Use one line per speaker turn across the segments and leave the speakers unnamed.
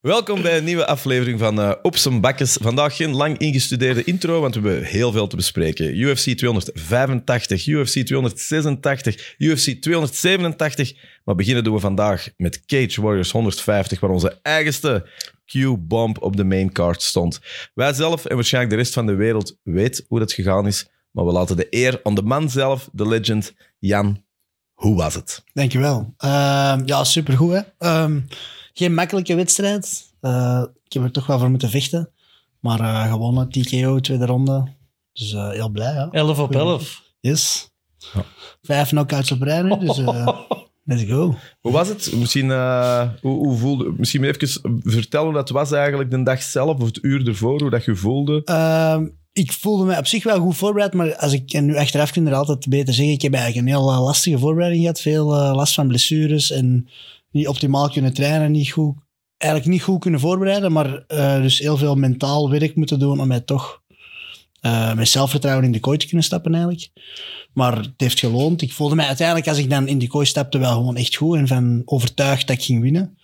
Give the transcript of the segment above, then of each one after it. Welkom bij een nieuwe aflevering van eh, Op zijn Bakkes. Vandaag geen lang ingestudeerde intro, want we hebben heel veel te bespreken. UFC 285, UFC 286, UFC 287. Maar beginnen doen we vandaag met Cage Warriors 150, waar onze eigenste Q-bomb op de maincard stond. Wij zelf en waarschijnlijk de rest van de wereld weet hoe dat gegaan is, maar we laten de eer aan de man zelf, de legend, Jan. Hoe was het?
Dankjewel. Ehm ja, supergoed. Hè? Ehm, geen makkelijke wedstrijd. Eh, ik heb er toch wel voor moeten vechten. Maar eh, gewonnen, TKO, tweede ronde. Dus eh, heel blij. Ja. dus,
11 op
Goeie.
11.
Yes.
Ja.
Vijf knockouts op rij nu, dus eh, let's go.
Hoe was het? Misschien, eh, hoe, hoe voelde, misschien even vertellen hoe dat was eigenlijk de dag zelf of het uur ervoor, hoe dat je voelde.
Ehm, ik voelde me op zich wel goed voorbereid, maar als ik en nu achteraf kun je er altijd beter zeggen. Ik heb eigenlijk een heel eh, lastige voorbereiding gehad. Veel eh, last van blessures en niet optimaal kunnen trainen, niet goed, eigenlijk niet goed kunnen voorbereiden, maar eh, dus heel veel mentaal werk moeten doen om mij toch eh, met zelfvertrouwen in de kooi te kunnen stappen eigenlijk. Maar het heeft geloond. Ik voelde mij uiteindelijk, als ik dan in die kooi stapte, wel gewoon echt goed en van overtuigd dat ik ging winnen.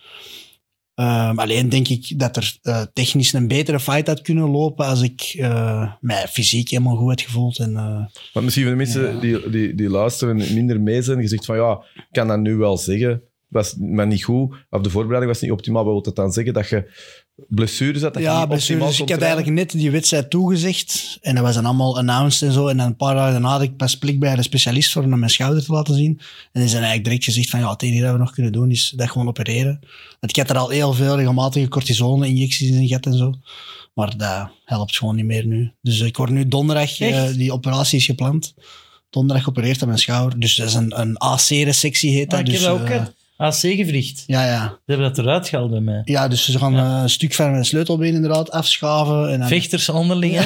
Ehm, alleen denk ik dat er eh, technisch een betere fight had kunnen lopen als ik eh, mij fysiek helemaal goed had gevoeld. En, eh,
Want misschien voor de mensen
Ja.
die, die, die luisteren en minder mee zijn, je zegt van ja, ik kan dat nu wel zeggen, Het was maar niet goed, of de voorbereiding was niet optimaal. Wat wil dat dan zeggen? Dat je blessures had, dat je
ja,
niet
blessures.
optimaal
Dus ik
kon
had
trainen?
eigenlijk net die wedstrijd toegezegd. En dat was dan allemaal announced en zo. En dan een paar dagen daarna had ik pas plik bij de specialist voor om mijn schouder te laten zien. En die zijn eigenlijk direct gezegd van ja, het enige dat we nog kunnen doen is dat gewoon opereren. Want ik had er al heel veel regelmatige cortisone-injecties in gehad en zo. Maar dat helpt gewoon niet meer nu. Dus ik word nu donderdag, eh,
Echt?
die operatie is gepland. Donderdag opereert aan mijn schouder. Dus dat is een, een AC-resectie heet dat.
Ah, ik heb
dus,
dat ook,
eh,
hè. AC-gewricht.
ja, ja.
Ze hebben dat eruit gehaald bij mij.
ja, dus ze gaan eh, een stuk van mijn sleutelbeen inderdaad afschaven. En dan-
Vechters onderling, hè.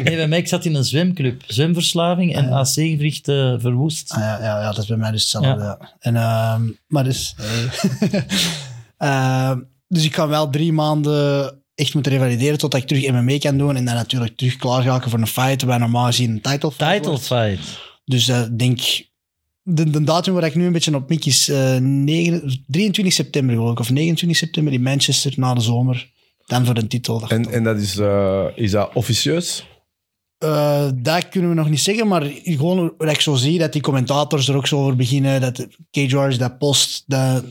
nee, bij mij, ik zat in een zwemclub. Zwemverslaving en AC-gewricht eh, verwoest.
Ah, ja, ja, ja, dat is bij mij dus hetzelfde. Ja. En, ehm, maar dus... Ehm, dus ik kan wel drie maanden echt moeten revalideren totdat ik terug MMA kan doen. En dan natuurlijk terug klaargaken voor een fight, waar normaal gezien een title fight
Title
wordt.
fight.
Dus eh, ik denk... De, de datum waar ik nu een beetje op mik is eh, negen- 23 september geloof ik, of 29 september in Manchester na de zomer. Dan voor een titel. Dat,
En, en dat is, eh, is dat officieus?
Eh, dat kunnen we nog niet zeggen, maar gewoon wat ik zo zie, dat die commentators er ook zo over beginnen, dat Cage Warriors dat post, dat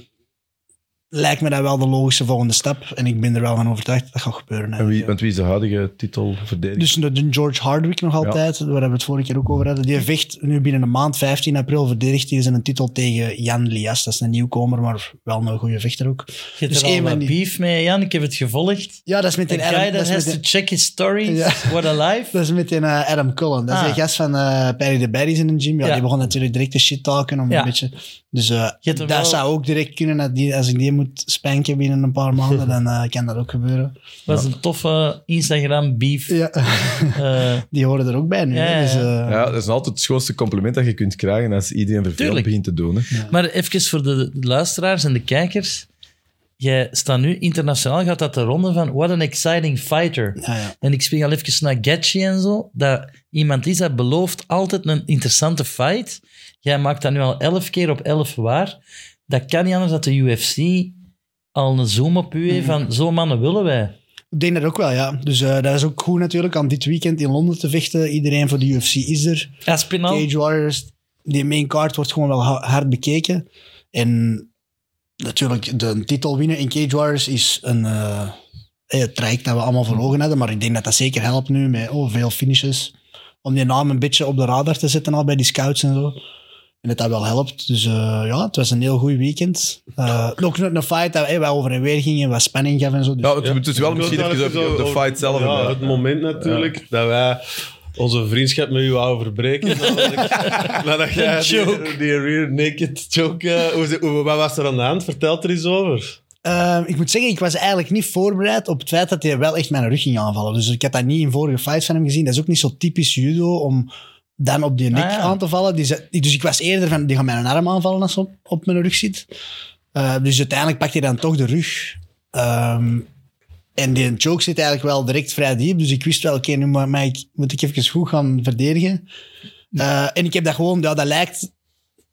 lijkt me dat wel de logische volgende stap. En ik ben er wel van overtuigd dat dat gaat gebeuren.
En wie,
eigenlijk,
want wie is de huidige titelverdediger?
dus de, de George Hardwick nog altijd, waar we het vorige keer ook over hadden. Die vecht nu binnen een maand, 15 april, verdedigt hij zijn titel tegen Jan Lias. Dat is een nieuwkomer, maar wel een goede vechter ook.
Je hebt
Dus
er al
één
wat
manier.
beef mee, Jan. Ik heb het gevolgd.
Ja, dat is met
The
een Adam,
guy
dat
that
is met
has to
een-
check his stories.
Ja.
What a life.
dat is met een, eh, Adam Cullen. Dat is
Ah.
de gast van eh Perry de Berries in een gym. Ja,
Ja.
Die begon natuurlijk direct te shit talken om
Ja.
een beetje... Dus eh,
Je hebt
dat
er wel-
zou ook direct kunnen. Dat die, als ik die moet spanken binnen een paar maanden, dan eh, kan dat ook gebeuren.
was een toffe Eh, Instagram-beef.
Ja. die horen er ook bij nu.
Ja,
hè.
ja,
Dus, eh,
ja, dat is altijd het schoonste compliment dat je kunt krijgen als iedereen vervelend
Tuurlijk.
begint te doen. Hè.
Maar even voor de luisteraars en de kijkers. Jij staat nu internationaal, gaat dat de ronde van What an exciting fighter.
ja, ah, ja.
En ik spring al even naar Gaethje en zo. Dat iemand is dat belooft altijd een interessante fight. Jij maakt dat nu al 11 keer op 11 waar. Dat kan niet anders dat de UFC al een zoom op u
Mm.
heeft van zo'n mannen willen wij.
Ik denk dat ook wel, ja. Dus eh, dat is ook goed natuurlijk aan dit weekend in Londen te vechten. Iedereen voor de UFC is er.
Aspinall,
Cage Warriors, die main card wordt gewoon wel ha- hard bekeken. En natuurlijk, de titel winnen in Cage Warriors is een eh, het traject dat we allemaal voor ogen hadden. Maar ik denk dat dat zeker helpt nu met oh, veel finishes. Om die naam een beetje op de radar te zetten al bij die scouts en zo. En dat dat wel helpt. Dus eh, ja, het was een heel goed weekend. Eh, ook nog een fight dat hey, wel over en weer ging en wat spanning gaf en zo. Dus,
Ja, het, het is wel misschien
Ik wil
even
daar
op, op de
over-
fight zelf. eh,
Ja,
inderdaad.
het moment natuurlijk dat wij onze vriendschap met u wouden verbreken. namelijk Nadat jij die, die rear naked choke... eh, hoe, ze- hoe- wat was er aan de hand? Vertel er eens over.
Ehm, ik moet zeggen, ik was eigenlijk niet voorbereid op het feit dat hij wel echt mijn rug ging aanvallen. Dus ik had dat niet in vorige fights van hem gezien. Dat is ook niet zo typisch judo om dan op die nek
Ah, ja.
aan te vallen. Die ze- dus ik was eerder van, die gaat mijn arm aanvallen als ze op, op mijn rug zit. Eh, dus uiteindelijk pakt hij dan toch de rug. Ehm, en die choke zit eigenlijk wel direct vrij diep. Dus ik wist wel, oké, nu moet, maar ik, moet ik even goed gaan verdedigen. Eh, en ik heb dat gewoon, ja, dat lijkt...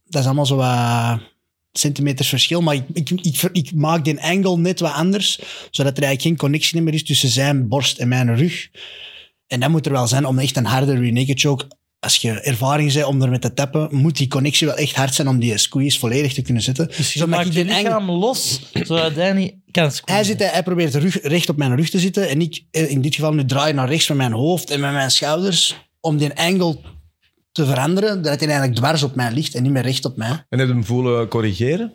Dat is allemaal zo wat centimeters verschil. Maar ik, ik, ik, ver- ik maak die angle net wat anders, zodat er eigenlijk geen connectie meer is tussen zijn borst en mijn rug. En dat moet er wel zijn om echt een harde rear naked choke. Als je ervaring bent om ermee te tappen, moet die connectie wel echt hard zijn om die squeeze volledig te kunnen zetten.
Dus je
Zo maak
maakt
ik
je
die angle-
lichaam los, zodat hij niet kan
hij,
squeezen.
zit, hij probeert rug, recht op mijn rug te zitten. En ik, eh, in dit geval, nu draai naar rechts met mijn hoofd en met mijn schouders. Om die angle te veranderen, dat hij eigenlijk dwars op mij ligt en niet meer recht op mij.
En heb je hem voelen corrigeren?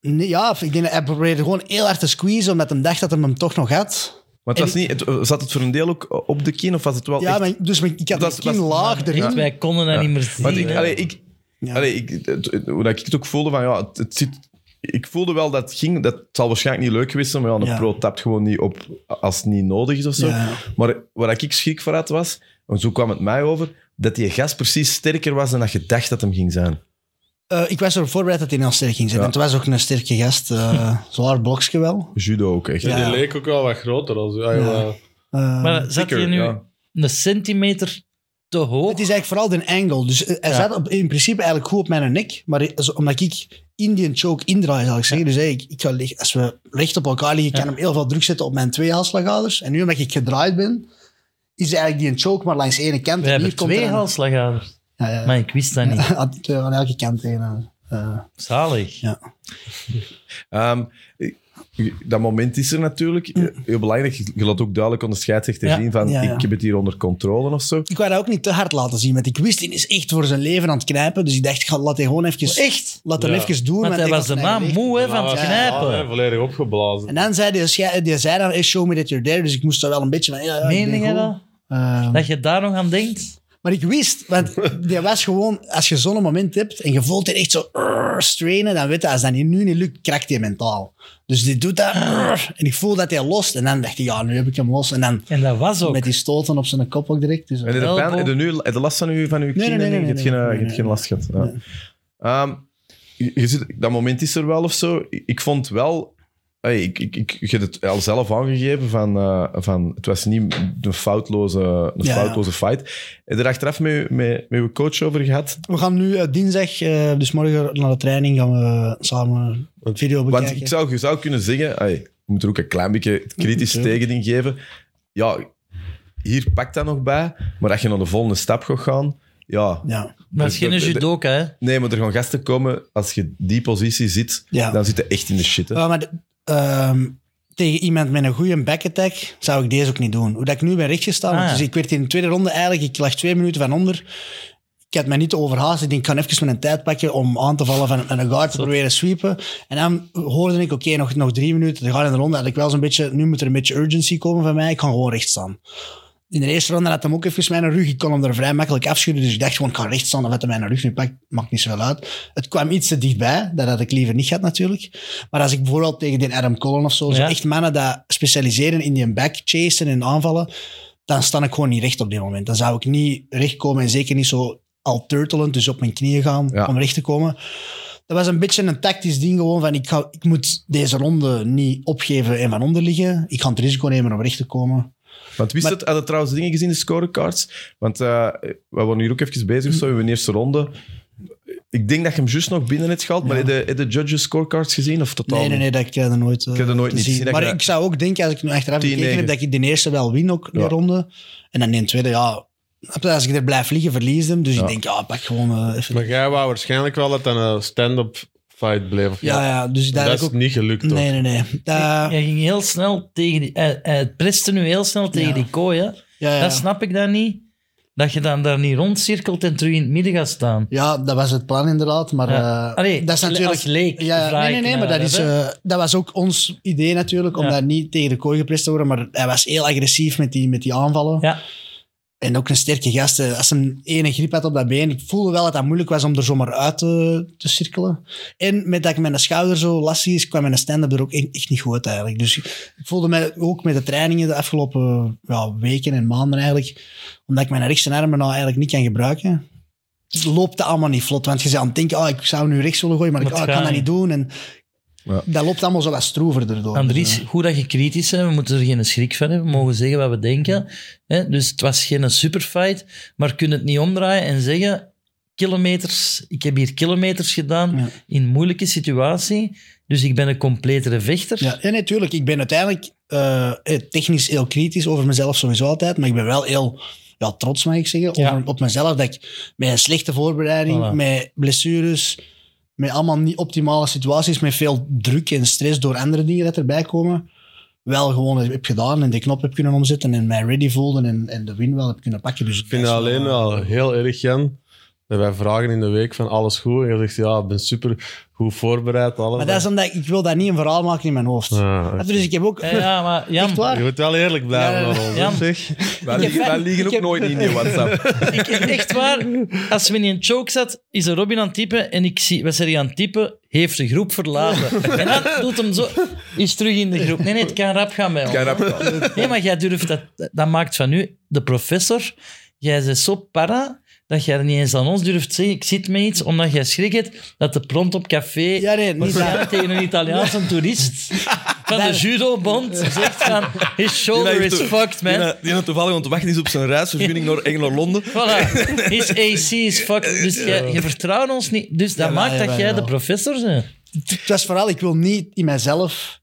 Nee, ja, of ik denk, dat hij probeerde gewoon heel hard te squeezen, omdat hij dacht dat hij hem toch nog had.
Maar het was niet, het- zat het voor een deel ook op de kin of was het wel
Ja,
echt...
maar, dus mijn- ik
Dat
had mijn
is-
kin
dat is-
laag erin.
Echt, Wij konden dat niet meer zien.
Want ik,
hè.
allee, ik,
Ja.
allee, ik, het- het- hoe dat ik het ook voelde van, ja, het, het zit... Ik voelde wel dat het ging. Dat zal waarschijnlijk niet leuk geweest zijn, maar ja, een
Ja.
pro tapt gewoon niet op als het niet nodig is of zo.
Ja.
Maar waar ik schrik voor had was, en zo kwam het mij over, dat die gast precies sterker was dan dat je dacht dat hem ging zijn.
Eh, ik was erop voorbereid dat hij heel sterk ging zitten.
Ja.
En het was ook een sterke gast. eh zwaar blokje wel.
Judo ook, echt.
Ja,
Ja.
die leek ook wel wat groter. Als, ah, ja,
Ja.
ja.
Eh,
maar zat
Dikker,
je nu
ja.
een centimeter te hoog?
Het is eigenlijk vooral de angle. Dus eh, hij
Ja.
zat op, in principe eigenlijk goed op mijn nek. Maar i- zo- omdat ik Indian choke indraai, zal ik zeggen. Dus hey, ik, ik ga lig- als we recht op elkaar liggen, ik kan hem heel veel druk zetten op mijn twee halsslagaders. En nu omdat ik gedraaid ben, is eigenlijk die een choke maar langs één kant.
We
en
hebben
hier komt er
twee
een-
halsslagaders.
Ja, ja.
Maar ik wist dat niet.
Aan- twee- aan elke kant één. eh.
Zalig.
Ehm, dat moment is er natuurlijk. Heel belangrijk, je je laat ook duidelijk aan de scheidsrechter
Ja,
zien van
Mm. ja, ja.
ik heb het hier onder controle of zo.
Ik wou dat ook niet te hard laten zien, want ik wist, hij is echt voor zijn leven aan het knijpen. Dus ik dacht, ik ga, laat hij gewoon even...
Echt?
Laat hem
Ja.
even doen.
Want hij
ik
was
had
de
mijn
naam
eigen
moe hè,
Ah, Ja,
van het
was gedaan, hè,
knijpen.
volledig opgeblazen.
En dan zei die, sche- die zei dan, hey, show me that you're there. Dus ik moest daar wel een beetje van... Ja, ja, ik ben
Meen je
goed.
dat?
Ehm,
Dat je daar nog aan denkt?
maar ik wist, want die was gewoon... Als je zo'n moment hebt en je voelt er echt zo "Arr", strainen, dan weet je, als dat nu niet lukt, krakt hij mentaal. Dus die doet dat. "Arr", en ik voel dat hij lost. En dan dacht ik, ja, nu heb ik hem los. En dan
En dat was ook.
met die stoten op zijn kop ook direct. Dus,
En heb je
Elbow.
pijn, heb je nu heb je last van je, van uw
nee,
kin? en
nee,
dingen? je
nee,
hebt geen,
nee,
eh, je
nee,
hebt geen
nee.
last gehad. Ja. Ehm, je- je zit- dat moment is er wel of zo. Ik, ik vond wel... hey, ik, ik, ik, je hebt het al zelf aangegeven van, eh, van het was niet een foutloze, een
Ja, ja.
foutloze fight. Heb je er achteraf met, met, met je coach over gehad?
We gaan nu eh, dinsdag, eh, dus morgen naar de training, gaan we samen een video bekijken.
Want ik zou, je zou kunnen zeggen, ai, je moet er ook een klein beetje het kritisch
Ja.
tegenin geven. Ja, hier pakt dat nog bij, maar als je naar de volgende stap gaat gaan, ja.
Ja,
Maar het is geen judoka, hè?
Nee, maar er gaan gasten komen, als je die positie zit,
ja. Ah,
dan zit je echt in de shit. hè.
Ja, maar de- ehm, tegen iemand met een goede backattack zou ik deze ook niet doen. Hoe dat ik nu ben rechtgestaan,
Ah,
want
ja.
dus ik werd in de tweede ronde eigenlijk, ik lag twee minuten van onder. Ik had mij niet overhaast. Ik denk, ik ga even mijn tijd pakken om aan te vallen van van een guard te proberen sweepen. En dan hoorde ik, oké, nog, nog drie minuten te gaan in de ronde. Had ik wel zo'n beetje, nu moet er een beetje urgency komen van mij. Ik ga gewoon recht staan. In de eerste ronde had hem ook even mijn rug. Ik kon hem er vrij makkelijk afschudden. Dus ik dacht gewoon, ik ga recht staan. Of dat hij mijn rug nu pakt, maakt niet zoveel uit. Het kwam iets te dichtbij. Dat had ik liever niet gehad natuurlijk. Maar als ik bijvoorbeeld tegen die Adam Cullen of zo, zo
Ja.
echt mannen dat specialiseren in die back chasen en aanvallen, dan sta ik gewoon niet recht op dit moment. Dan zou ik niet recht komen en zeker niet zo al turtelend, dus op mijn knieën gaan
Ja.
om recht te komen. Dat was een beetje een tactisch ding gewoon van ik, ga, ik moet deze ronde niet opgeven en van onder liggen. Ik ga het risico nemen om recht te komen.
Want wist
Maar-
het, hadden trouwens dingen gezien, de scorecards? Want eh, we waren hier ook even bezig, zo in de eerste ronde. Ik denk dat je hem juist nog binnen hebt gehaald, maar heb je, heb je de judges scorecards gezien of totaal
Nee, nee, nee, dat ik er nooit. eh,
Ik heb dat nooit
te
niet
zien.
gezien, dat
Maar
ik-
ik zou ook denken, als ik nu achteraf
10-9.
gekeken heb, dat ik de eerste wel win ook de
Ja.
ronde. En dan in de tweede, ja. Als ik er blijf liggen, verlies hem. Dus
Ja.
ik denk, ja, pak gewoon eh, even.
Maar jij wou waarschijnlijk wel dat dat een stand-up fight bleef. of
Ja, ja, dus
Dat
daar
is
ook.
niet gelukt, toch?
Nee, nee, nee. Da-
Hij ging heel snel tegen die... Hij, hij preste nu heel snel tegen
Ja.
die kooi, hè?
ja, ja.
Dat snap ik dan niet. Dat je dan daar niet rondcirkelt en terug in het midden gaat staan.
Ja, dat was het plan inderdaad. Maar
Ja.
eh,
Allee,
dat is
als
natuurlijk.
leek
Ja, ja,
vraag
nee, nee,
ik
nee,
naar
maar dat, is,
hè.
eh, dat was ook ons idee natuurlijk, om
Ja.
daar niet tegen de kooi geprest te worden. Maar hij was heel agressief met die, met die aanvallen.
Ja.
En ook een sterke gast. eh, Als hij ene grip had op dat been, ik voelde wel dat dat moeilijk was om er zomaar uit te, te cirkelen. En met dat ik mijn schouder zo lastig is, kwam mijn stand-up er ook e- echt niet goed uit eigenlijk. Dus ik voelde mij ook met de trainingen de afgelopen ja, weken en maanden eigenlijk, omdat ik mijn rechtse armen nou eigenlijk niet kan gebruiken, loopt dat allemaal niet vlot. Want je zou aan het denken, ah ik zou nu rechts willen gooien, maar ik,
Dat
ah, ik kan
gaat
dat niet doen. En
Ja.
dat loopt allemaal zo wat Dus, stroever erdoor.
Andries, goed dat je kritisch bent. We moeten er geen schrik van hebben. We mogen zeggen wat we denken. Hè? Dus het was geen superfight. Maar kun het niet omdraaien en zeggen... kilometers. Ik heb hier kilometers gedaan
Ja.
in moeilijke situatie. Dus ik ben een completere vechter.
Ja, ja natuurlijk. ik ben uiteindelijk eh, eh, technisch heel kritisch over mezelf sowieso altijd, maar ik ben wel heel ja, trots, mag ik zeggen,
Ja.
over, op mezelf. Dat ik met een slechte voorbereiding,
Voilà.
met blessures, met allemaal niet optimale situaties, met veel druk en stress door andere dingen dat erbij komen, wel gewoon heb gedaan en de knop heb kunnen omzetten en mij ready voelde en, en de win wel heb kunnen pakken. Dus
Ik vind het alleen wel heel erg, Jan, dat wij vragen in de week van alles goed. En je zegt, ja, ik ben super goed voorbereid. Alles.
Maar dat is omdat ik, ik wil daar niet een verhaal maken in mijn hoofd.
Ah, oké.
Dus ik heb ook...
Ja, Eh, ja maar Jan,
Echt waar?
Je moet wel eerlijk blijven
Ja,
aan ons,
Jan.
hè, zeg.
Wij,
Ik heb
liegen- wij
vijf-
liegen
ik
ook
heb-
nooit in je WhatsApp.
ik, echt waar, als we in een choke zat, is er Robin aan het typen en ik zie, wat zei hij aan het typen? Heeft de groep verlaten. En dan doet hem zo, is terug in de groep. Nee, nee, het kan rap gaan bij ons.
Kan rap gaan.
Nee, maar jij durft dat, dat maakt van u de professor. Jij bent zo para dat jij niet eens aan ons durft zeggen: ik zit met iets, omdat jij schrik hebt dat de prompt op café.
Ja, nee, niet
waarschijnlijk
dat.
tegen een Italiaanse toerist van de
Daar-
judobond zegt van his shoulder
Die
is
dat-
fucked,
Die
man.
dat- Die dat toevallig aan het wachten is op zijn reisvergunning naar Engeland-Londen.
Voilà. His AC is fucked. Dus jij- je vertrouwt ons niet. Dus dat
Jawel,
maakt dat
jawel,
jij de
jawel.
professor bent.
het was vooral, ik wil niet in mijzelf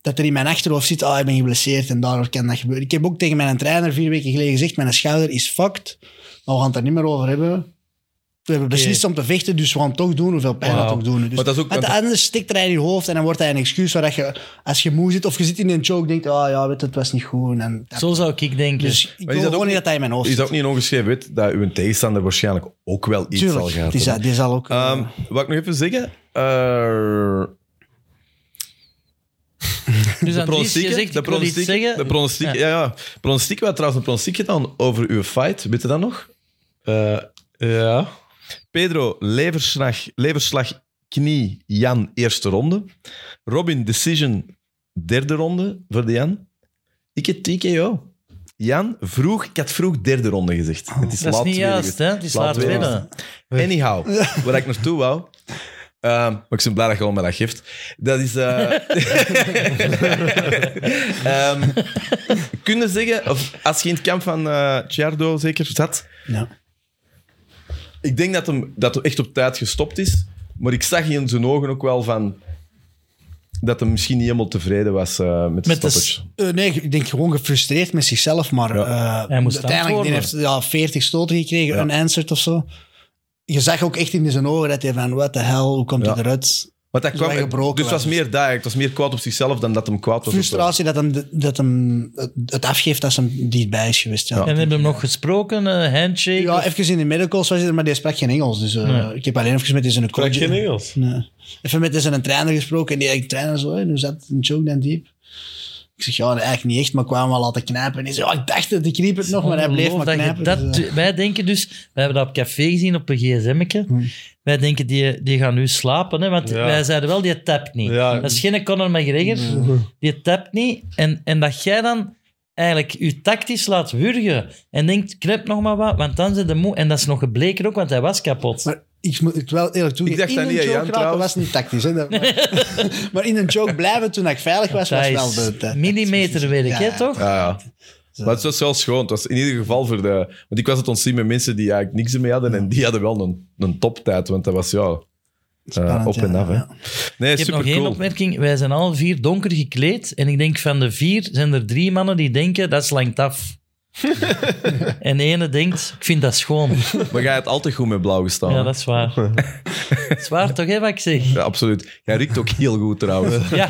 dat er in mijn achterhoofd zit, ah, ik ben geblesseerd en daardoor kan dat gebeuren. Ik heb ook tegen mijn trainer vier weken geleden gezegd, mijn schouder is fucked, maar we gaan het er niet meer over hebben. We hebben beslist om te vechten, dus we gaan het toch doen hoeveel pijn dat
Wauw.
ook doen. Dus,
Maar dat is ook-
want anders stikt er hij in je hoofd en dan wordt hij een excuus waar dat je, als je moe zit of je zit in een choke, denkt, ah ja, weet je, het was niet goed. En dat-
Zo zou ik denken.
dus ik
dat
wil
ook
gewoon niet
niet-
dat hij in mijn hoofd
Is dat ook niet een ongeschreven wet dat uw tegenstander waarschijnlijk ook wel iets zal gaan
Tuurlijk, die zal, die zal ook...
Ehm,
eh,
wat ik nog even zeggen. eh,
Dus
de
Andries,
pronostiek.
je zegt,
De
ik wil iets
pronostiek.
zeggen.
De pronostiek. Ja,
Ja.
ja. Pronostiek. We hadden trouwens een pronostiek gedaan over uw fight. Weet je dat nog?
Eh, ja.
Pedro, leverslag, leverslag knie, Jan, eerste ronde. Robin, decision, derde ronde voor de Jan. Ik heb TKO. Jan, vroeg, ik had vroeg derde ronde gezegd. Het is
Dat is
laat
niet
tweede
juist,
geweest.
hè? Het is
Laat
laat
tweede.
winnen.
Anyhow, waar ik naartoe wou. ehm, maar ik ben blij dat je al mij dat geeft. Dat is. eh ehm kun je zeggen, of als je in het kamp van eh Ciardo zeker zat.
ja.
Ik denk dat hem, dat hem echt op tijd gestopt is. Maar ik zag in zijn ogen ook wel van. dat hij misschien niet helemaal tevreden was eh, met de
Met de
stoppage.
Eh, nee, ik denk gewoon gefrustreerd met zichzelf, maar eh,
Hij moest
uiteindelijk die heeft
antwoorden.
ja, 40 stoten gekregen,
Ja.
een answered of zo. Je zag ook echt in zijn ogen dat hij van, what the hell, hoe komt
Ja.
hij eruit?
Want dat kwam,
Zo gebroken
dus het was
was.
meer daar. Het was meer kwaad op zichzelf dan dat hem kwaad was. op-
Frustratie dat hem, dat hem het- het afgeeft als hem dichtbij is geweest. Ja.
Ja.
Ja.
En hebben we hem nog gesproken, eh, handshake. of-
even in de medicals was hij er, maar die sprak geen Engels. Dus eh,
Nee.
ik heb alleen even met zijn
Krijg
coach...
geen Engels?
Nee. Even met zijn trainer gesproken en die eigenlijk trainer zo, "Hey, hoe zat het? een choke dan diep? Ik zeg, ja, eigenlijk niet echt, maar ik kwam wel laten knijpen. En hij zei, "Ja, ik dacht het, ik kniep het nog, Oh, maar hij bleef maar
Ongelooflijk dat je
knijpen. dus, eh.
dat, Wij denken dus, we hebben dat op café gezien op een gsm'tje.
Hm.
Wij denken, die, die gaan nu slapen, hè, want
Ja.
wij zeiden wel, die tapt niet.
Ja.
Dat is geen Conor McGregor, die tapt niet. En, en dat jij dan eigenlijk je tactisch laat wurgen en denkt, knip nog maar wat, want dan zit de moe. En dat is nog gebleken ook, want hij was kapot.
Maar ik moet het wel eerlijk toe.
Ik dacht
in
dat
een
niet,
choke
Jan,
raken
trouwens.
was niet tactisch. Hè? Dat- maar, maar in een choke blijven toen ik veilig was,
dat
was
is
wel de... de-
millimeterwerk,
Ja,
hè,
ja.
toch?
Ja, ja. Maar het was wel schoon. Het was in ieder geval voor de... Want ik was het ontzien met mensen die eigenlijk niks ermee hadden. En die hadden wel een, een toptijd. Want dat was, ja... eh,
Spannend,
op en
ja,
af, hè.
ja.
Nee,
Ik heb nog één
supercool.
opmerking. Wij zijn al vier donker gekleed. En ik denk van de vier zijn er drie mannen die denken dat is langt af. en de ene denkt, ik vind dat schoon.
Maar jij hebt altijd goed met blauw gestaan.
Ja, dat is waar. dat is waar toch, hè, wat ik zeg?
Ja, absoluut. Jij riekt ook heel goed, trouwens.
Ja.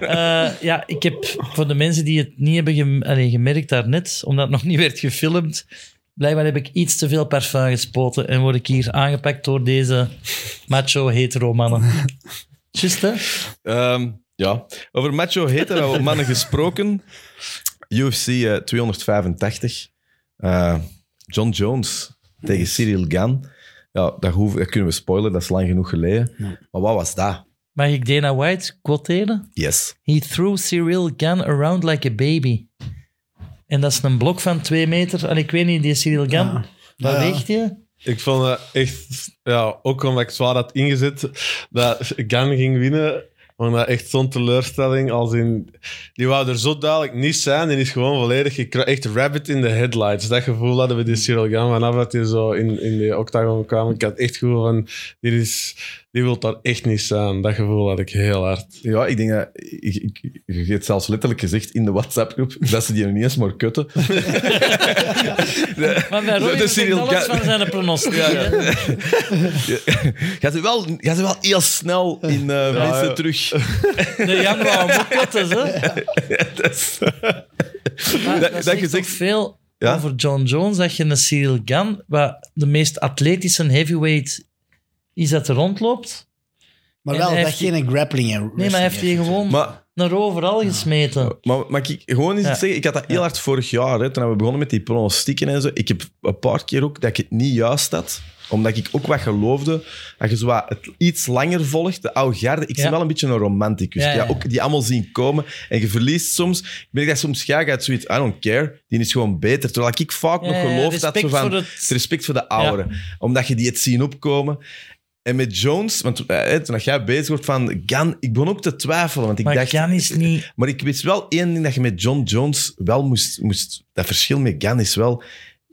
Eh, ja, ik heb voor de mensen die het niet hebben gem allee, gemerkt daarnet, omdat het nog niet werd gefilmd, blijkbaar heb ik iets te veel parfum gespoten en word ik hier aangepakt door deze macho-hetero-mannen. Just, hè?
Ehm, ja. Over macho hetero mannen gesproken. UFC eh, 285. Eh, John Jones tegen Cyril Gan. Ja, dat, hoeven- dat kunnen we spoilen. Dat is lang genoeg geleden. Maar wat was dat?
Mag ik Dana White quoteren?
Yes.
He threw Cyril Gan around like a baby. En dat is een blok van twee meter. En ik weet niet, die Cyril Gan,
Ah.
Ja.
wat
Ja.
weegt je?
Ik vond het echt, ja, ook omdat ik zwaar had ingezet, dat Gan ging winnen. Maar dat echt zo'n teleurstelling. Als in, die wou er zo duidelijk niet zijn. Die is gewoon volledig gekra- echt rabbit in de headlights. Dat gevoel hadden we die Cyril Gan vanaf dat hij zo in, in de octagon kwam. Ik had echt gevoel van, die, is, die wil daar echt niet zijn. Dat gevoel had ik heel hard.
Ja, ik denk dat... Ik, ik, ik- je hebt zelfs letterlijk gezegd in de WhatsApp-groep dat ze die er niet eens maar kutten.
Maar bij Roy
De
is
Cyril
alles
Ga-
van zijn pronostiek. hè.
Gaat ze wel, gaat ze wel heel snel in eh, mensen
ja.
terug.
De Jan wou hem ook kutten, hè.
Dat is- Dat-
Maar dat,
dat
zegt
je
toch
zegt-
veel
Ja?
over John Jones, dat je een Cyril Gunn, wat de meest atletische heavyweight is dat er rondloopt.
Maar
En
wel,
hij
dat
heeft die-
geen grappling en
Nee, maar
wrestling
heeft hij gewoon
maar,
naar overal gesmeten.
maar mag ik gewoon eens
Ja.
iets zeggen? Ik had dat heel hard vorig jaar, hè, toen we begonnen met die pronostieken en zo. Ik heb een paar keer ook dat ik het niet juist had omdat ik ook wat geloofde, dat je zo wat het iets langer volgt, de oude garde. Ik
Ja.
ben wel een beetje een romanticus.
Ja,
Ja,
ja, ja.
ook die allemaal zien komen. En je verliest soms. Ik ben dat soms graag uit zoiets, I don't care, die is gewoon beter. Terwijl ik vaak nog
Ja, ja,
geloof dat
respect
zo van...
voor het-
Het respect voor de ouderen. Omdat je die het zien opkomen. En met Jones, want eh, toen jij bezig wordt van Gan, ik begon ook te twijfelen. Want ik
maar
dacht,
Gunn is niet...
maar ik wist wel één ding dat je met John Jones wel moest. moest dat verschil met Gan is wel.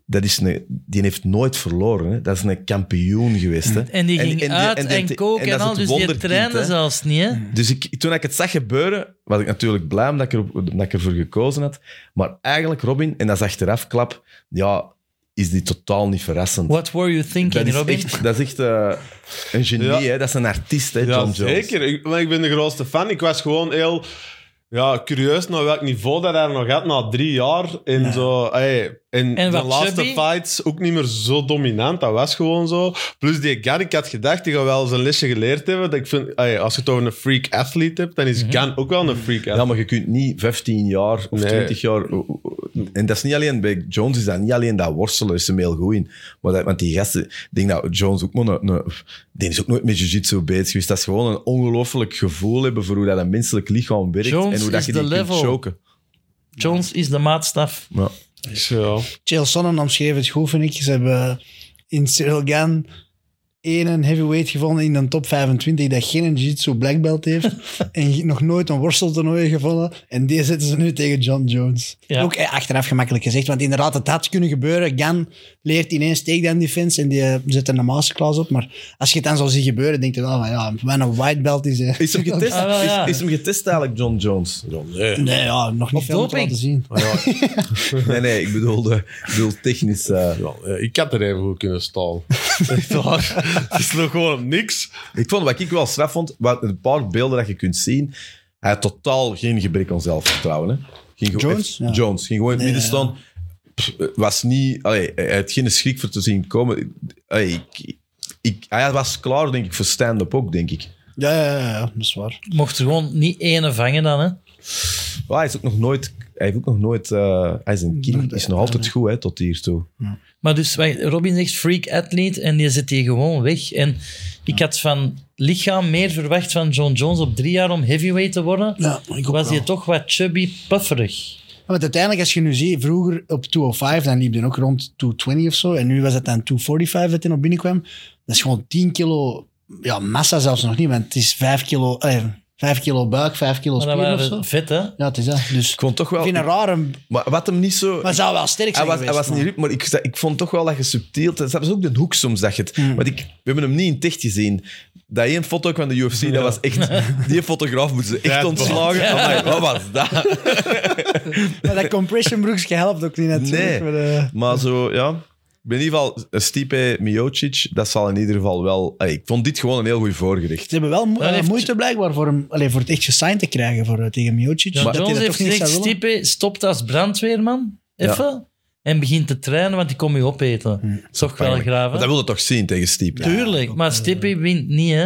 Dat is een, die heeft nooit verloren. Hè? Dat is een kampioen geweest. Hè?
En die ging
en die-
uit en,
en die-
koken
en
en,
dat is
al,
het
dus die
wonderkind,
trainde
hè.
zelfs niet, hè.
Dus ik, toen ik het zag gebeuren, was ik natuurlijk blij omdat ik, er, dat ik ervoor gekozen had. Maar eigenlijk, Robin, en dat is achteraf klap, ja, is die totaal niet verrassend.
What were you thinking,
Dat is
Robin?
echt, dat is echt eh, een genie,
Ja.
hè? dat is een artiest, hè, John
ja,
Jones.
zeker. Ik, maar ik ben de grootste fan. Ik was gewoon heel ja, curieus naar welk niveau dat hij nog had na drie jaar. En, zo, hey, en,
En
de
wat
laatste
chubby?
fights ook niet meer zo dominant. Dat was gewoon zo. Plus die Gan, ik had gedacht, die gaat wel zijn lesje geleerd hebben. Dat ik vind, hey, als je toch een freak athlete hebt, dan is
Mhm.
Gan ook wel een freak
Ja,
athlete.
maar je kunt niet 15 jaar of
Nee.
20 jaar. En dat is niet alleen bij Jones, is dat niet alleen dat worstelen, is hem heel goed in. Maar dat, want die gasten, ik denk dat Jones ook maar een, een- die is ook nooit met jiu-jitsu bezig geweest. Dat is gewoon een ongelooflijk gevoel hebben voor hoe dat een menselijk lichaam werkt
Jones
en hoe dat
is
je die
the
kunt
level.
choken.
Jones is de maatstaf.
Ja.
Zo.
Chael Sonnen omschreef het goed, vind ik. Ze hebben in Cyril Gan één heavyweight gevonden in de top 25 dat geen jiu-jitsu black belt heeft en nog nooit een worsteltoernooi gevonden. En die zetten ze nu tegen John Jones.
Ja.
Ook eh, achteraf gemakkelijk gezegd, want inderdaad, het had kunnen gebeuren. Gan leert ineens takedown defense en die eh, zet er een masterclass op. Maar als je het dan zo ziet gebeuren, denk je wel van, ja, wat een white belt is eh. hij.
Is hem getest?
Ah, wel, ja.
is, is hem getest eigenlijk, John Jones?
Nee, ja, nog niet
Op
veel om te
doping.
laten zien.
Nee, nee, ik bedoelde, ik bedoel technisch. eh,
Ja, ik had er even goed kunnen staan. Echt waar. Het is nog gewoon op niks.
Ik vond wat ik wel straf vond, wat een paar beelden dat je kunt zien. Hij had totaal geen gebrek aan zelfvertrouwen. Hè. Ging gewoon-
Jones?
echt-
Ja.
Jones ging gewoon in het midden staan. Pff, Was niet, allee, hij had geen schrik voor te zien komen. Allee, ik, ik, hij was klaar, denk ik, voor stand-up ook, denk ik.
Ja, ja, ja, ja, dat is waar.
Mocht er gewoon niet ene vangen dan, hè.
Maar hij is ook nog nooit. Hij heeft ook nog nooit. eh, hij is een king, is nog altijd goed hè, tot hiertoe.
Maar dus, wacht, Robin zegt freak athlete en die zit hier gewoon weg. En ik had van lichaam meer verwacht van John Jones op drie jaar om heavyweight te worden.
Ja, ik ook
was
wel.
hij toch wat chubby, pufferig.
Ja, Want uiteindelijk, als je nu ziet, vroeger op 205, dan liep hij ook rond 220 of zo. En nu was het dan 245 dat hij nog binnenkwam. Dat is gewoon 10 kilo, ja, massa zelfs nog niet, want het is 5 kilo, eh, 5 kilo buik, 5 kilo
Maar dat
spieren of
waren
zo.
vet, hè?
Ja, het is dat. Dus
Ik vond toch
ik
wel.
vind het raar, een-
Maar wat hem niet zo.
maar het zou wel
Hij
sterk zijn
was, hij
geweest,
was niet
man.
rup, maar ik, ik vond toch wel dat je subtiel... Dat is ook de hoek soms dat je het...
Mm.
Want ik, we hebben hem niet in ticht gezien. Dat één foto ook van de UFC, dat was echt... Die fotograaf moeten ze echt
Ja,
ontslagen. Amai, wat was dat?
Maar dat compression broekje helpt ook niet natuurlijk.
Nee.
maar, eh,
Maar zo, ja... Ik ben In ieder geval, eh, Stipe Miocic, dat zal in ieder geval wel... Allee, ik vond dit gewoon een heel goed voorgerecht.
ze hebben wel mo-
Dan
eh,
heeft-
moeite blijkbaar voor, hem, allee, voor het echt gesigned te krijgen voor, eh, tegen Miocic.
John
Dat hij
Jones
dat
heeft
toch niet
gezegd,
zou willen.
Stipe stopt als brandweerman, even. En begint te trainen, want die kom je opeten.
Hm,
Dat is toch wel graaf,
Want dat
hè?
wilde toch zien tegen Stipe.
Tuurlijk, maar Stipe wint niet, hè?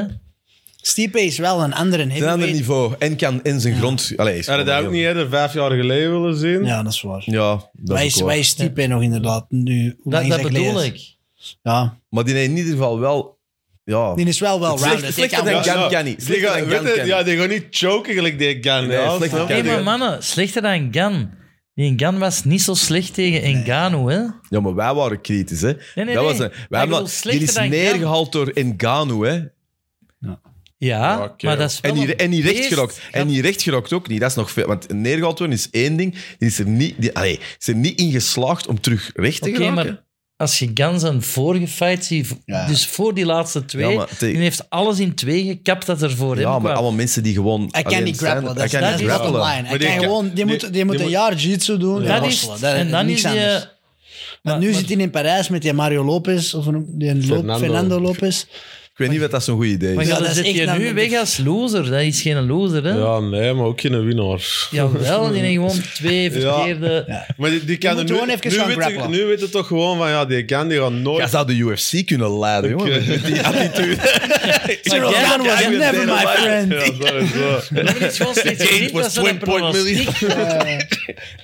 Stipe is wel een andere
Een ander
heavyweight.
niveau. En kan in zijn grond... Allee, is
Had je
gewoon
dat ook
heel-
niet eerder vijf jaar geleden willen zien?
Ja, dat is waar.
Ja, dat
Wij
is
is,
ook waar.
wij is Stipe nog inderdaad nu. Hoe
Dat,
lang is
dat
dat geleden?
bedoel ik.
Ja,
Maar die heeft in ieder geval wel... Ja,
die is wel wel
Slecht-
rounded.
slechter
Ik
dan
kan-
Gan
ja.
kan niet.
Die
Slechter
gaan,
dan
weet
Gan
je,
kan
ja,
niet.
die gaan niet choken gelijk die Gan.
Nee,
ja,
slechter
snap
kan
je?
Nee, maar
die-
mannen, slechter dan Gan. Die Gan was niet zo slecht tegen Engano, hè?
Ja, maar wij waren kritisch, hè.
nee,
dat
nee.
was een, wij
Maar ik
hebben
bedoel,
dat, die
slechter
is
dan Jan.
neergehaald door Ngannou, hè.
Ja,
Ja, oké,
maar
ja.
dat is wel
En die,
een
en die
beest.
rechtgerokt. En die rechtgerokt ook niet. Dat is nog veel. Want neergehaald worden is één ding. Die is er niet, die, allee, is er niet in geslaagd om terug recht te
Oké,
geraken.
maar als je Gans een vorige fight ziet, v-
Ja.
dus voor die laatste twee,
Ja, maar te-
die heeft alles in twee gekapt dat er voor
ja,
hem
maar
kwam.
allemaal mensen die gewoon...
Hij kan
alleen
niet
zijn.
grappelen. Dat is
Hij kan
dat
niet
is bottom
grappelen.
line. Hij
Maar die
kan
kan-
gewoon... Die
die-
moet, die moet
die
een
moet-
jaar jiu-jitsu doen en
dat is,
worstelen. Dat-
en dan
niks
is die...
anders. Maar nu
maar-
zit hij in Parijs met die Mario Lopez, of een- die een Lo-
Fernando.
Fernando Lopez.
Ik weet niet wat dat zo'n goed idee
Maar
is.
Ja,
ja,
dat
dan
is
zit
echt
je
dan-
nu weg als loser. Dat is geen loser, hè?
Ja, nee, maar ook geen winnaar.
Jawel, die heeft gewoon twee verkeerde...
Maar die, die kan
moet
er
gewoon
nu,
even
nu,
gaan
weet je,
grappelen.
nu weet je toch gewoon van, ja, die kan, die gaat
Jij
nooit...
zou de UFC kunnen leiden, jongen. Met die attitude.
Maar
Cyril Gunn was
jij- jij-
never my friend.
Ja, sowieso.
Robin is gewoon steeds geniet dat ze dat pronostiek...
Eh,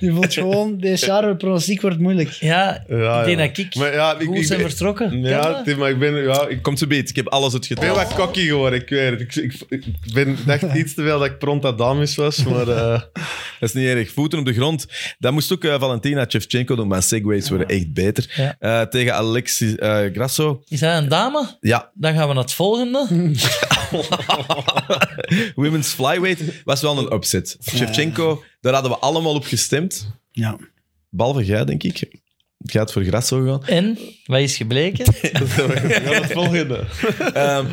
Die voelt gewoon, deze jaar de pronostiek wordt moeilijk.
Ja,
Ja,
ik denk
ja.
dat ik
Maar ja, ik-
goed
ik-
zijn
ik-
vertrokken. Kan
Ja,
dat?
Tim, maar ik ben, ja, ik
Kom te beet, ik heb alles het
ben
gedaan.
wat cocky geworden, ik weet het. Ik, ik, ik ben, dacht iets te veel dat ik prompt Adamis was, maar... eh,
Dat is niet erg. Voeten op de grond. Dat moest ook eh, Valentina Shevchenko doen, maar segways worden echt beter.
Ja.
Eh, tegen Alexis eh, Grasso.
Is dat een dame?
Ja,
Dan gaan we naar het volgende.
women's flyweight was wel een upset. Shevchenko, daar hadden we allemaal op gestemd.
Ja.
Behalve jij, denk ik. Het gaat voor Grasso gaan.
En, wat is gebleken?
we gaan het volgende.
Ehm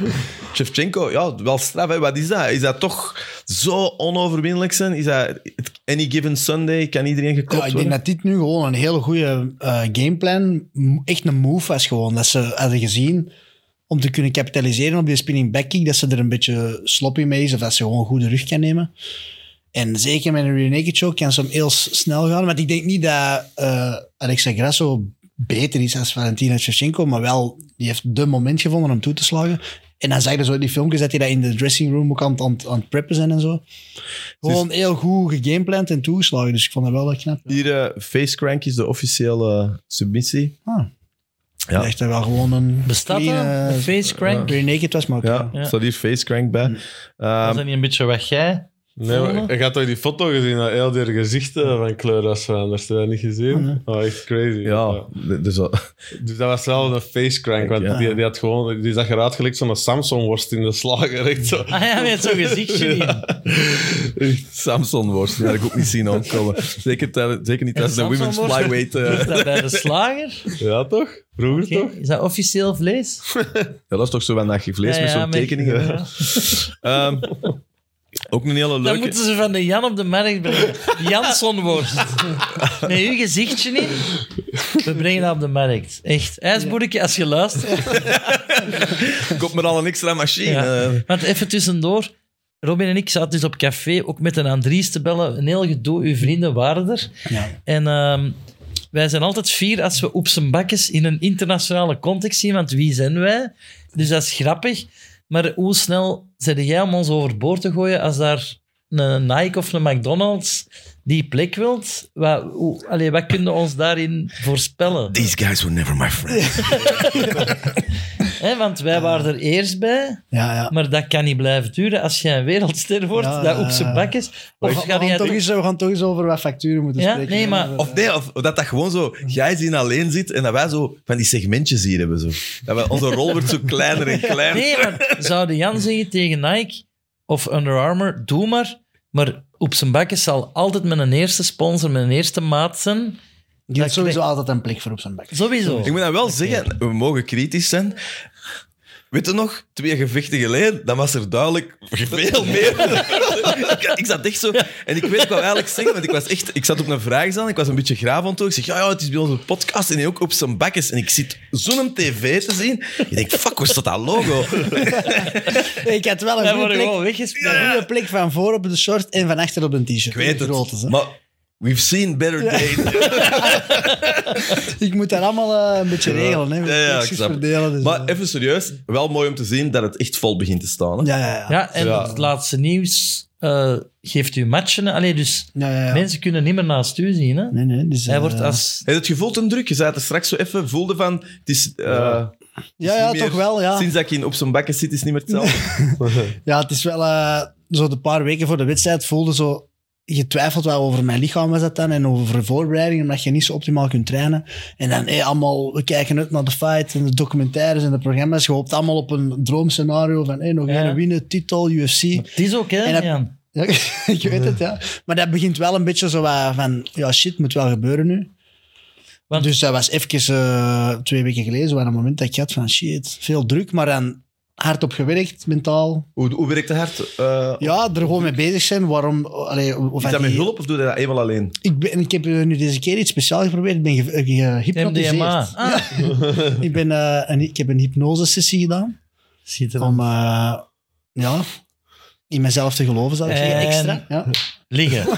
Shevchenko, ja, wel straf. Hè? Wat is dat? Is dat toch zo onoverwinnelijk zijn? Is dat any given Sunday? Kan iedereen geklopt
Ja, ik denk
worden?
dat dit nu gewoon een hele goede eh, gameplan, m- echt een move was gewoon. Dat ze hadden gezien om te kunnen kapitaliseren op die spinning back kick, dat ze er een beetje sloppy mee is of dat ze gewoon een goede rug kan nemen. En zeker met een rear naked choke kan ze hem heel s- snel gaan. Want ik denk niet dat eh Alexa Grasso beter is als Valentina Shevchenko, maar wel, die heeft de moment gevonden om toe te slagen. En dan zag je zo in die filmpjes dat hij dat in de dressing room ook aan, het- aan, het- aan het preppen zijn en zo. Gewoon heel goed gegamepland en toegeslagen. Dus ik vond dat wel eh, knap.
Hier, eh, face crank is de officiële eh, submissie.
Ah.
Ja.
Ja. Echt wel gewoon een.
Bestaat dat?
clean, eh,
Een face crank?
Bare naked was, maar ook,
Ja,
ja.
Ja.
staat hier face crank bij. Ehm,
Was dat niet een beetje wat jij...
Nee, maar ik had toch die foto gezien, dat heel die gezichten van kleur was veranderd. Heb je dat niet gezien? Oh, echt crazy.
ja, d- dus wel-
Dus dat was wel een face crank, want
Ja.
die, die, had gewoon, die zag eruit gelijk zo'n Samsung-worst in de slager. Echt zo.
Ah ja, met zo'n gezichtje in.
Samson-worst, die had ik ook niet zien aankomen. Zeker, tij- zeker niet tijdens de women's
Samson-worst?
flyweight. eh.
Is dat bij de slager?
Ja, toch? Vroeger
Oké,
toch?
Is dat officieel vlees?
Ja, dat is toch zo van dat je vlees
Ja,
met
ja,
zo'n tekeningen.
ja.
hè? Ehm, ook een hele
Dan
leuke.
moeten ze van de Jan op de markt brengen. Janssonworst. Met uw gezichtje in. We brengen dat op de markt. Echt. IJsboerke, als je luistert.
Koop maar al een extra machine.
Ja.
eh.
Want even tussendoor. Robin en ik zaten dus op café, ook met een Andries te bellen. Een heel gedoe, uw vrienden waren er.
Ja.
En ehm, wij zijn altijd fier als we op zijn bakjes in een internationale context zien, want wie zijn wij? Dus dat is grappig. Maar hoe snel zet jij om ons overboord te gooien als daar een Nike of een McDonald's die plek wilt? Wat, hoe, allee, wat kunnen we ons daarin voorspellen?
These guys were never my friends.
Hè, want wij waren er eerst bij,
ja, ja.
maar dat kan niet blijven duren als jij een wereldster wordt,
Ja,
dat
ja,
op zijn
ja.
bakjes.
We
Of
gaan,
ga
we
jij
gaan toch
toch-
eens, we gaan toch eens over wat facturen moeten
Ja,
spreken. Eh,
nee, maar-
Of nee, of dat dat gewoon zo, jij zien alleen zit en dat wij zo van die segmentjes hier hebben. Zo. Dat we, onze rol wordt zo kleiner en kleiner.
Nee, maar zouden Jan zeggen tegen Nike of Under Armour, doe maar. Maar op zijn bakken zal altijd met een eerste sponsor, met een eerste maat zijn.
Je hebt
Dat
sowieso altijd een plek voor op zijn bek.
Sowieso.
Ik moet dat wel zeggen, we mogen kritisch zijn. Weet je nog, twee gevechten geleden, dan was er duidelijk veel meer. ik, ik zat echt zo... En ik weet, ik wou eigenlijk zeggen, want ik, was echt, ik zat op een vraagzaal, ik was een beetje graaf aan toe. Ik zeg, ja, ja, het is bij onze podcast en hij ook op zijn bakjes. En ik zit zo'n tv te zien. Ik denk, fuck, hoe staat dat logo?
Ik had wel een
Wij
goede
worden
plek,
gewoon weggespeeld.
een goede plek van voor op de short en van achter op een t-shirt.
Ik weet
De grotes, hè.
het. Maar we've seen better days.
Ik moet dat allemaal eh, een beetje regelen. Hè.
Ja, ja, ik
Plekjes
snap het.
verdelen. Dus,
Maar
eh,
even serieus, wel mooi om te zien dat het echt vol begint te staan. Hè?
ja, ja, ja.
Ja, en
Ja.
het laatste nieuws eh, geeft u matchen. Allee, dus
ja, ja, ja.
mensen kunnen niet meer naast u zien. Hè?
Nee, nee, dus,
Hij
eh,
wordt als...
Heb je het gevoel ten druk? Je zei het er straks zo even, voelde van... Het is, eh,
Ja.
het
Ja,
is
ja,
niet meer-
toch wel, ja.
Sinds dat ik in op zo'n bakken zit, is het niet meer hetzelfde.
Ja, het is wel eh, zo de paar weken voor de wedstrijd voelde zo je twijfelt wel over mijn lichaam was dat dan en over voorbereiding, omdat je niet zo optimaal kunt trainen. En dan hey, allemaal, we kijken uit naar de fight en de documentaires en de programma's. Je hoopt allemaal op een droomscenario van hey, nog
Ja.
één winnen, titel, UFC.
Het is ook, hè,
En dat-
Jan?
Ja, ik weet het, ja. Maar dat begint wel een beetje zo wat van, ja shit, moet wel gebeuren nu.
Want-
dus dat was even eh, twee weken geleden, zo aan een moment dat ik had van shit, veel druk, maar dan hard op gewerkt, mentaal.
Hoe, hoe werkt het hart? Eh,
Ja, er gewoon mee bezig zijn. Waarom? Allee, of
is dat met
die-
hulp of doe je dat eenmaal alleen?
Ik, ben, ik heb eh, nu deze keer iets speciaals geprobeerd. Ik ben ge- eh, gehypnotiseerd.
MDMA. Ah,
Ik, ben, eh, een, ik heb een hypnosesessie gedaan.
Schitterend.
Om eh, ja, in mezelf te geloven, zou ik zeggen.
En-
Extra. Ja.
Liggen.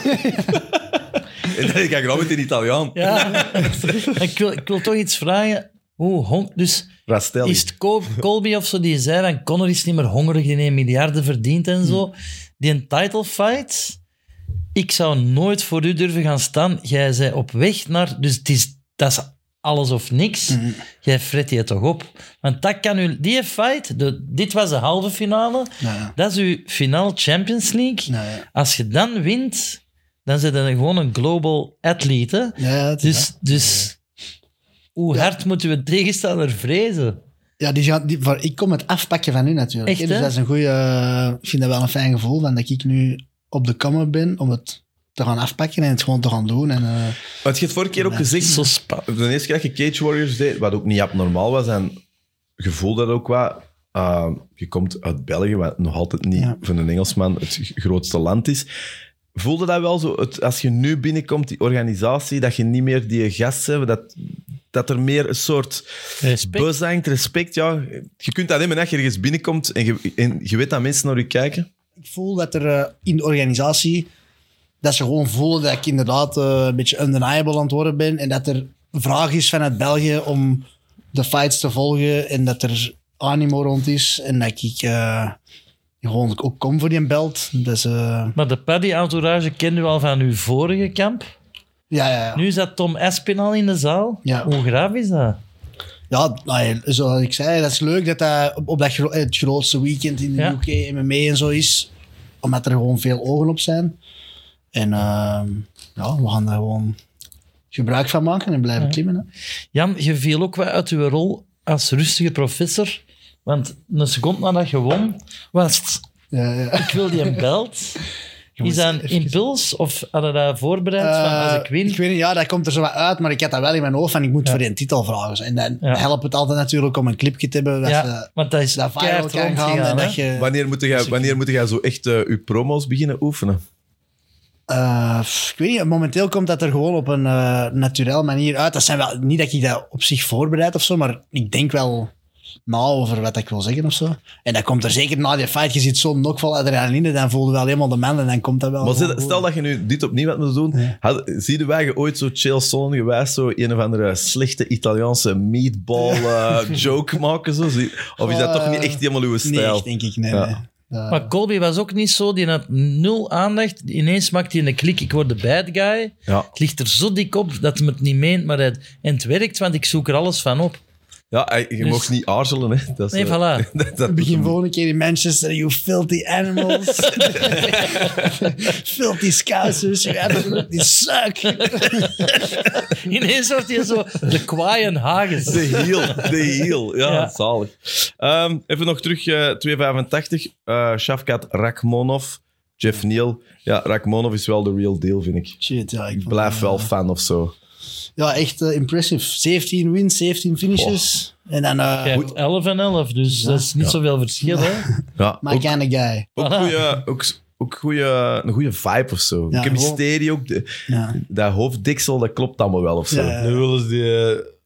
En dan kijk ik nou met in Italiaan.
Ja. ik, wil, ik wil toch iets vragen. Hoe hon- dus
Rastelli.
is het Col- Colby of zo die zei van Connor is niet meer hongerig, die heeft miljarden verdient en
Hmm.
zo. Die een title fight, ik zou nooit voor u durven gaan staan. Jij zei op weg naar, dus het is, dat is alles of niks.
Hmm.
Jij fret je toch op. Want dat kan u, die fight, de, dit was de halve finale,
Ja.
dat is uw finale Champions League.
Nou, ja.
Als je dan wint, dan zit je gewoon een global athlete. hè.
Ja, het is-
Dus, dus hoe hard moeten we een tegenstander vrezen?
Ja, die gaan, die, voor, ik kom het afpakken van u natuurlijk.
Echt,
hè. dus
hè?
dat is een goede. ik vind dat wel een fijn gevoel van dat ik nu op de kamer ben om het te gaan afpakken en het gewoon te gaan doen. En, eh,
Want je hebt vorige keer ook gezegd...
Zo spa-
De eerste keer dat je Cage Warriors deed, wat ook niet abnormaal was, en gevoel dat ook wat... eh, je komt uit België, wat nog altijd niet
Ja.
voor een Engelsman het g- grootste land is. Voelde dat wel zo, het, als je nu binnenkomt, die organisatie, dat je niet meer die gasten hebt, dat, dat er meer een soort
Respect.
buzz hangt, respect. Ja. Je kunt dat hebben als je ergens binnenkomt en je, en je weet dat mensen naar je kijken.
ik voel dat er eh, in de organisatie. dat ze gewoon voelen dat ik inderdaad eh, een beetje undeniable aan het worden ben. En dat er vraag is vanuit België om de fights te volgen. En dat er animo rond is. En dat ik eh, gewoon ook kom voor die belt. Dus, eh,
Maar de paddy-entourage kende u al van uw vorige kamp.
ja, ja, ja.
Nu zat Tom Espin al in de zaal.
Ja.
Hoe graaf is dat?
Ja, nou ja, zoals ik zei, dat is leuk dat dat op, op dat gro- eh, het grootste weekend in de
Ja.
UK MMA en zo is. Omdat er gewoon veel ogen op zijn. En ehm, ja, we gaan daar gewoon gebruik van maken en blijven klimmen. Hè.
Jan, je viel ook wel uit uw rol als rustige professor. Want een seconde nadat je won, was het...
Ja, ja.
Ik wil die een belt. Is
moest
dat een
even-
impuls? Of hadden dat voorbereid? van als ik win...
Eh, weet niet, ja, dat komt er zo wat uit, maar ik had dat wel in mijn hoofd van ik moet voor die titel vragen. En dan
Ja.
helpt het altijd natuurlijk om een clipje te hebben dat,
ja,
ze,
want dat is
dat viral
keihard
kan gaan.
rondgegaan,
en
hè?
dat je,
Wanneer moet jij, wanneer moet jij zo echt eh, je promos beginnen oefenen?
Eh, pff, ik weet niet, momenteel komt dat er gewoon op een eh naturel manier uit. Dat zijn wel, niet dat ik dat op zich voorbereid of zo, maar ik denk wel na over wat ik wil zeggen of zo. En dat komt er zeker na die fight. Je zit zo'n nok vol adrenaline, dan voel je wel helemaal de man en dan komt dat wel.
Maar
gewoon
Oh.
stel,
goed.
stel dat je nu dit opnieuw had moeten doen, had, zie je wij je ooit zo chill sonnen gewijs zo een of andere slechte Italiaanse meatball eh, joke maken? Zo? Zie- Of is dat toch
Ah.
niet echt helemaal uw
Nee,
stijl?
echt, denk ik. Nee,
Ja.
nee. Eh,
Maar Colby was ook niet zo, die had nul aandacht. Ineens maakt hij een klik, ik word de bad guy.
Ja.
Het ligt er zo dik op dat hij het niet meent, maar het, en het werkt, want ik zoek er alles van op.
ja, eh, je
Dus-
mocht niet aarzelen. Hè. Dat is,
Nee,
eh,
voilà.
dat, dat-
Begin volgende keer in Manchester, you filthy animals. filthy scousers, you absolutely suck.
Ineens wordt hij zo de kwaaien hagens.
De heel, de heel. Ja,
Ja.
zalig. Ehm, even nog terug, eh 285. eh Shafkat Rakhmonov, Jeff Neal. Ja, Rakhmonov is wel de real deal, vind ik.
Shit, ja.
Ik
vond-
blijf wel fan of zo.
Ja, echt eh, impressive. 17 wins, 17 finishes. En dan eh
Ja, 11 en 11, dus dat is niet zoveel verschil. Hè?
Ja,
my
ook-
kind of guy.
Ook,
Voilà.
goeie, ook, ook goeie, een goede vibe of zo.
Ja,
ik heb
gewoon-
mysterie ook. de-
Ja.
dat hoofddiksel, dat klopt allemaal wel of zo.
Ja.
Nu willen ze die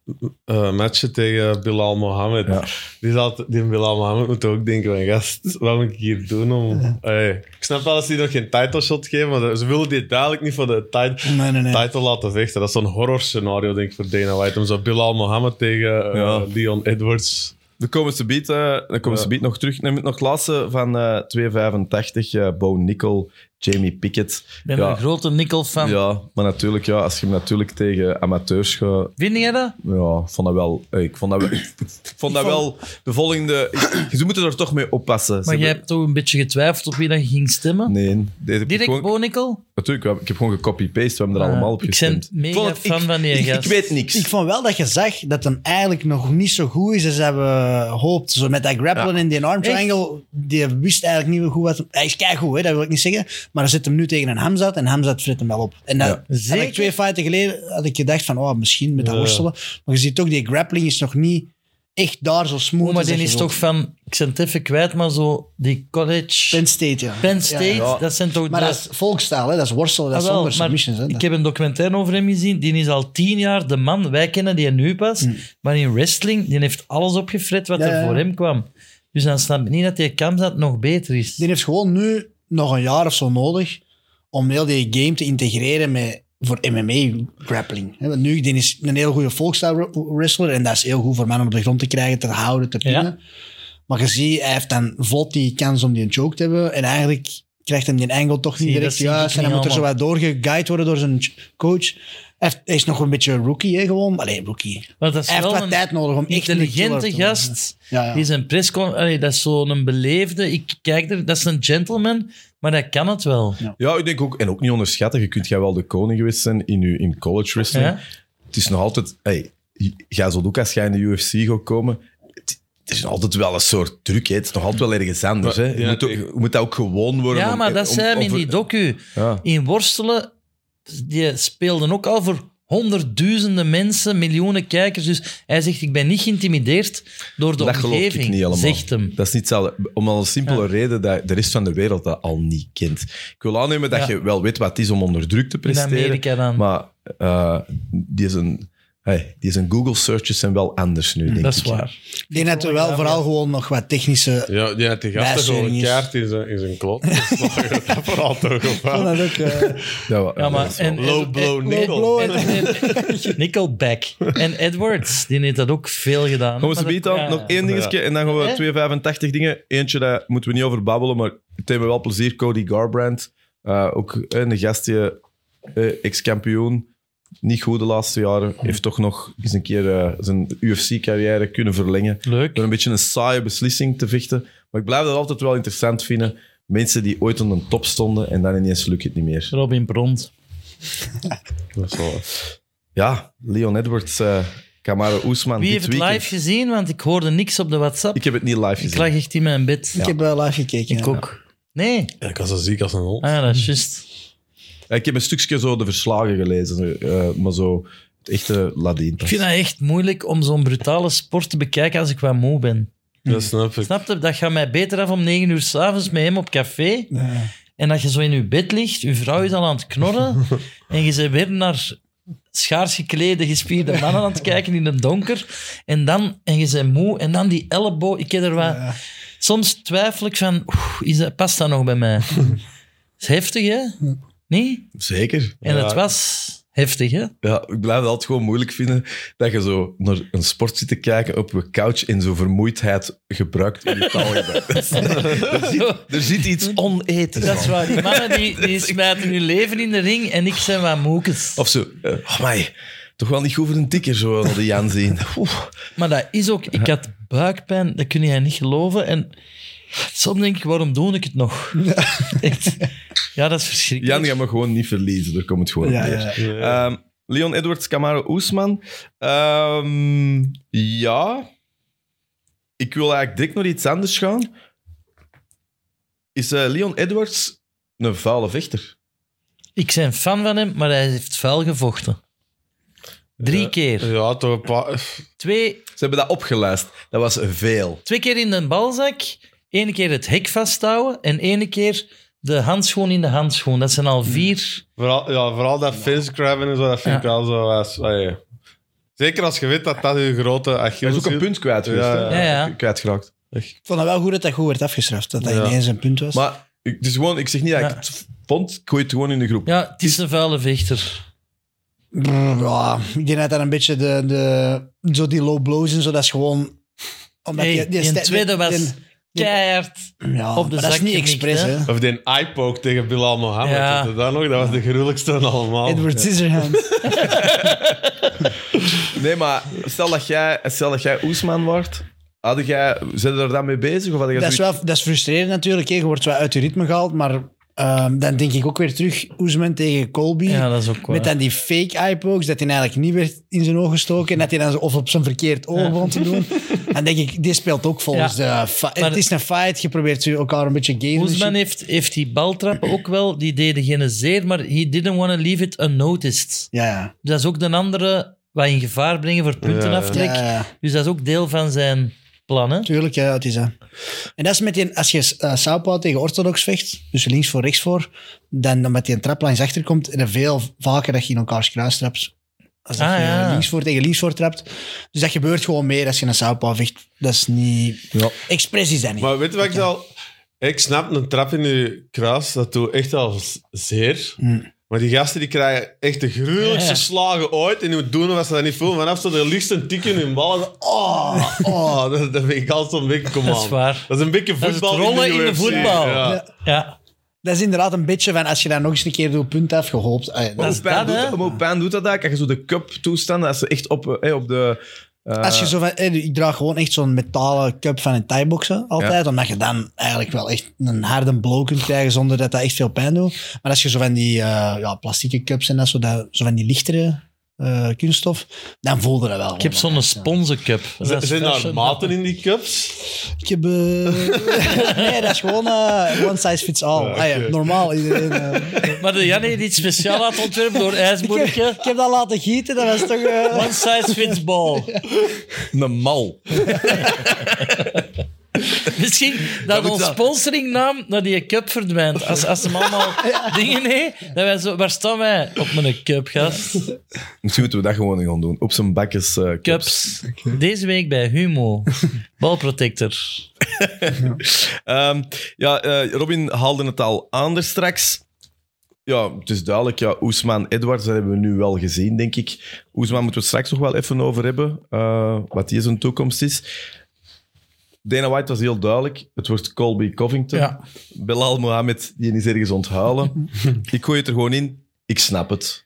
eh, eh, matchen tegen Bilal Mohammed.
Ja.
Die, zal, die Bilal Mohammed moet ook denken van gast, wat moet ik hier doen om... Hey, ik snap wel dat ze die nog geen title shot geven, maar ze willen die duidelijk niet voor de tijd.
Nee, nee, nee.
Title laten vechten, dat is zo'n horror scenario, denk ik, voor Dana White. Om zo Bilal Mohammed tegen eh,
Ja.
Leon Edwards.
Dan komen ze beat, eh, dan komen
Ja.
ze beat nog terug. Dan moet nog het laatste van eh, 2,85. eh Bo Nickel, Jamie Pickett.
Ik ben
Ja.
een grote nikkel van.
Ja, maar natuurlijk, ja, als je hem natuurlijk tegen amateurs gaat...
Vind jij dat?
Ja, ik vond dat wel... Ik vond dat wel, ik vond dat wel de volgende... ik- Ze moeten er toch mee oppassen. Ze
Maar jij
hebben-
hebt toch een beetje getwijfeld op wie dat je ging stemmen?
Nee, deze heb ik
Direct
gewoon-
Bonikkel?
Natuurlijk, we hebben- ik heb gewoon gecopy-paste. We hebben er
Ah,
allemaal op
ik ben
gestemd.
mega
vond het-
fan van die
ik,
gast.
Ik weet niks.
Ik vond wel dat je zag dat hem eigenlijk nog niet zo goed is als dat we hoopten. Zo met dat grappelen in die arm
Echt?
triangle, die wist eigenlijk niet goed wat... Hij is keigoed, hè, dat wil ik niet zeggen. Maar dan zit hem nu tegen een Hamzat en Hamzat frit hem wel op. En dat,
Ja.
had
Zeker.
ik twee fighten geleden had ik gedacht van, oh, misschien met dat worstelen. Maar je ziet ook, die grappling is nog niet echt daar zo smooth.
Oh, maar
als
die
dat
is
je
toch
wilt.
van, ik ben het even kwijt, maar zo die college...
Penn State, ja.
Penn State,
Ja, ja.
dat zijn toch...
Maar
de-
dat is volkstaal, hè. dat is worstelen, dat
Ah,
is
wel,
zonder
maar
submissions. Hè.
Ik heb een documentaire over hem gezien. Die is al tien jaar de man. Wij kennen die nu pas. Maar in wrestling, die heeft alles opgefret wat
Hmm. Ja,
er
ja.
voor hem kwam. Dus dan snap ik niet dat die Kamzat nog beter is.
Die heeft gewoon nu nog een jaar of zo nodig om heel die game te integreren met, voor MMA grappling. Hè, Want nu die is een heel goede volkstyle wr- wrestler en dat is heel goed voor mannen om op de grond te krijgen, te houden, te pinnen.
Ja.
Maar je ziet, hij heeft dan vlot die kans om die een choke te hebben en eigenlijk krijgt hem die angle toch
Zie,
niet
dat
direct
zie ik
juist en hij
niet
moet er zo wat doorgeguid worden door zijn ch- coach. Hij heeft- hij is nog een beetje rookie, hè, gewoon. Allee, rookie.
Want dat is
Hij heeft
wel
wat
een
tijd nodig om echt een killer
intelligente
te worden.
gast.
Ja, ja.
Die is een presscon... Allee, dat is zo'n beleefde... Ik kijk er... Dat is een gentleman, maar dat kan het wel.
Ja, ik denk ook, en ook niet onderschatten, je kunt jij wel de koning geweest zijn in, je, in college wrestling.
Ja.
Het is nog altijd, hey, jij zult ook als jij in de UFC gaat komen, het, het is nog altijd wel een soort truc, hè. het is nog altijd wel ergens anders. Hè. Je,
Ja,
moet, ook- je moet dat ook gewoon worden.
Ja,
om-
maar dat
om-
zei hem
om-
in die docu.
Ja.
In worstelen, die speelden ook al voor honderdduizenden mensen, miljoenen kijkers. Dus hij zegt, ik ben niet geïntimideerd door de
Dat geloof
omgeving,
ik niet allemaal.
zegt hem.
Dat is niet hetzelfde. Om al een simpele
Ja.
reden dat de rest van de wereld dat al niet kent. Ik wil aannemen dat
Ja.
je wel weet wat het is om onder druk te
In
presteren.
Amerika dan.
Maar eh, die zijn, hey, die zijn Google searches zijn wel anders nu, denk
Mm, dat
ik.
is waar.
Ik denk dat er wel vooral gewoon nog wat technische
Ja, die had die gasten
Bijsturing
gewoon een
is-
kaart in zijn, in zijn klot geslagen. dat vooral toch
Ik
gevaar.
vond dat ook, eh,
Ja, wa-
Ja, maar,
dat is
en,
Low blow nickel.
blow.
en- en- Nickelback en Edwards, die heeft dat ook veel gedaan.
Gaan we ze
Maar dat-
bieden
ja.
dan? Nog één dingetje en dan gaan we
Hè?
285 dingen. Eentje, daar moeten we niet over babbelen, maar het deed me wel plezier. Cody Garbrandt, eh, ook eh, een gastje, eh, ex-kampioen. Niet goed de laatste jaren. Heeft toch nog eens een keer eh, zijn UFC-carrière kunnen verlengen.
Leuk.
Door een beetje een saaie beslissing te vechten. Maar ik blijf dat altijd wel interessant vinden. Mensen die ooit aan de top stonden en dan ineens lukt het niet meer.
Robin Bront.
Dat is wel-
Ja, Leon Edwards, eh Kamaru Oesman.
Wie
dit
heeft het
weekend.
live gezien? Want ik hoorde niks op de WhatsApp.
Ik heb het niet live gezien.
Ik lag echt in mijn bed.
Ik heb wel live gekeken.
Ik
ja.
ook. Nee.
Ja, ik was zo ziek als een hond.
Ah, dat is juist.
Ja, Ik heb een stukje zo de verslagen gelezen, eh, maar zo het echte Ladin.
Ik vind dat echt moeilijk om zo'n brutale sport te bekijken als ik wat moe ben.
Dat snap ik.
Snap je? Dat gaat mij beter af om negen uur s'avonds met hem op café.
Ja.
En dat je zo in je bed ligt, je vrouw is al aan het knorren. en je bent weer naar schaars geklede, gespierde mannen aan het kijken in het donker. En dan, en je bent moe. En dan die elleboog. Ik heb er wat... Soms twijfel ik van, oeh, is dat, past dat nog bij mij? Dat is heftig, hè? Nee?
Zeker.
En
Ja.
het was heftig, hè?
Ja, ik blijf het altijd gewoon moeilijk vinden dat je zo naar een sport zit te kijken op een couch en zo vermoeidheid gebruikt in je taal. er zit iets onethisch
Dat is
aan.
waar. Die mannen die, die smijten hun leven in de ring en ik zijn wat moekes.
Of zo, eh, oh mij, toch wel niet goed voor een tikker zo naar de Jan zien. Oeh.
Maar dat is ook... Ik had buikpijn, dat kun jij niet geloven. En soms denk ik, waarom doe ik het nog? Echt. Ja, dat is verschrikkelijk.
Jan gaat me gewoon niet verliezen, daar komt het gewoon op
Ja,
neer.
ja.
Ehm, Leon Edwards, Camaro Oesman. Ehm, ja. Ik wil eigenlijk direct naar iets anders gaan. Is eh, Leon Edwards een vuile vechter?
Ik ben fan van hem, maar hij heeft vuil gevochten. Drie
Ja.
keer.
Ja, toch een paar...
Twee,
Ze hebben dat opgeluisterd. Dat was veel.
twee keer in de balzak, één keer het hek vasthouden en één keer de handschoen in de handschoen. Dat zijn
Hmm.
al vier...
Vooral, ja, vooral dat fence grabben en zo, dat vind
Ja.
ik wel zo... als- allee. Zeker als je weet dat dat je grote
Hij
Achilles
is ook een punt kwijt geweest.
Ja,
hè?
ja.
Ja, ja.
Kwijtgeraakt.
Ik vond het wel goed dat dat goed werd afgestraft. Dat dat
Ja.
ineens een punt was.
Maar ik, het is gewoon, ik zeg niet dat
Ja.
ik het vond. Ik gooi het gewoon in de groep.
Ja, het is een vuile vechter.
Brr, ja, ik denk dat dat een beetje de, de... Zo die low blows en zo, dat is gewoon... Omdat
Hey,
die- die
die
sta-
tweede was
die-
keihard.
Ja,
Op de
maar dat is
zak
niet
gemikt,
expres,
hè?
hè.
Of die eye-poke tegen Bilal Mohammed.
Ja.
weet je Dat, nog? dat was de gruwelijkste van allemaal.
Edward Scissorhands.
Nee, maar stel dat jij, stel dat jij Oesman wordt, had jij, zijn er dan mee bezig? Of had jij
dat, is
zoiets-
wel, dat is frustrerend natuurlijk. hè. Je wordt wel uit je ritme gehaald, maar ehm, dan denk ik ook weer terug Oesman tegen Colby.
Ja, dat is ook waar.
Met dan die fake eyepokes, dat hij eigenlijk niet werd in zijn oog gestoken. En dat hij dan zo- of op zijn verkeerd oog begon te doen. Dan denk ik, dit speelt ook volgens de... fi-
Maar-
het is een fight, je probeert ze elkaar een beetje game
Oesman heeft, heeft die baltrappen ook wel, die deden geen zeer, maar he didn't want to leave it unnoticed. Dus
Ja, ja.
Dat is ook de andere wat in gevaar brengen voor puntenaftrek.
Ja, ja, ja.
Dus dat is ook deel van zijn plannen.
Tuurlijk, ja, het is hè. En dat is met die, als je eh Sao Paulo tegen orthodox vecht, dus links voor rechts voor, dan, dan met die trap langs achter komt, en dan veel vaker dat je in elkaars kruis trapt. Als dat
Ah,
je
ja.
links voor tegen links voor trapt. Dus dat gebeurt gewoon meer als je een Sao Paulo vecht. Dat is niet... Express is dat niet.
Maar weet je wat ik al... Ik snap een trap in je kruis, dat doet echt al z- zeer.
Mm.
Maar die gasten die krijgen echt de gruwelijkste
Hm. Ja.
slagen ooit. En die doen wat ze dat niet voelen. Vanaf ze de lichtste tik in hun ballen. Oh, oh dat, dat vind ik altijd een beetje... Come on.
Dat is waar.
Dat is een beetje
Dat is
voetbal
het rollen in de
UFC,
voetbal.
ja.
Ja.
Ja,
Dat is inderdaad een beetje van als je dat nog eens een keer doet, punt af, gehoopt. Ah, ja,
Maar
dat
hoe
is
pijn
dat,
doet
hè?
maar hoe pijn doet dat eigenlijk? Als je zo de cup toestanden, als ze echt op, eh, hey, op de... eh,
Als je zo van, eh, ik draag gewoon echt zo'n metalen cup van een thai-boxen altijd, omdat je dan eigenlijk wel echt een harde blow kunt krijgen zonder dat dat echt veel pijn doet. Maar als je zo van die eh, ja, plastieke cups en dat, zo, dat, zo van die lichtere eh, kunststof, dan voelde dat wel.
ik heb zo'n sponsencup.
Z- Zijn daar maten in die cups?
Ik heb, eh, nee, dat is gewoon eh, one size fits all.
oké.
Ah ja, normaal, iedereen... eh.
Maar de Jan heeft iets speciaal laten ontwerpen door
ik, heb,
IJsboerke.
ik heb dat laten gieten, dat was toch... eh,
One size fits all.
Een mal.
Misschien dat,
moet
onze
dat.
sponsoringnaam naar die cup verdwijnt. Als, als ze hem allemaal dingen nee, dan wij zo, waar staan wij? Op mijn cup, gast.
Misschien moeten we dat gewoon gaan doen. Op zijn bakjes eh, cups.
Cups. Deze week bij Humo. Balprotector.
Ehm, ja, eh, Robin haalde het al aan er straks. Ja, het is duidelijk. Ja, Oesman, Edwards, dat hebben we nu wel gezien, denk ik. Oesman moeten we het straks nog wel even over hebben. eh, wat die zijn toekomst is. Dana White was heel duidelijk. Het wordt Colby Covington.
Ja.
Belal Mohamed, die is ergens onthuilen. ik gooi het er gewoon in. Ik snap het.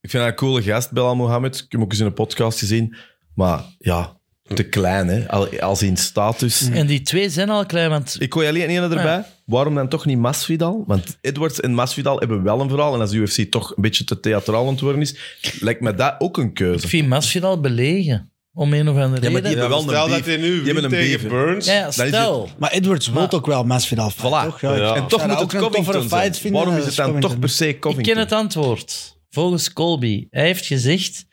Ik vind haar een coole gast, Belal Mohamed. Ik heb hem ook eens in een podcast gezien. Maar ja, te klein, hè. Al- Als in status.
En die twee zijn al klein, want
Ik gooi alleen één
Ah,
erbij. Waarom dan toch niet Masvidal? Want Edwards en Masvidal hebben wel een verhaal. En als de UFC toch een beetje te theatraal ontworpen is, lijkt me dat ook een
ik
keuze.
vind Masvidal belegen. Om een of
Ja, maar
andere reden.
die hebben wel
stel
een
dat
beef.
hij nu
Die hebben
wint
een
tegen
beef, hè.
Burns.
Ja, ja,
is het.
stel.
Maar Edwards wil ook wel Masvidal fight,
Voilà.
toch? Ja, ik-
Ja.
En toch
zou
moet
dat
het
ook een toffere
Covington zijn.
fight vinden
Waarom is
dan
het dan
Covington?
toch per se
Ik
Covington?
ken het antwoord. Volgens Colby. Hij heeft gezegd,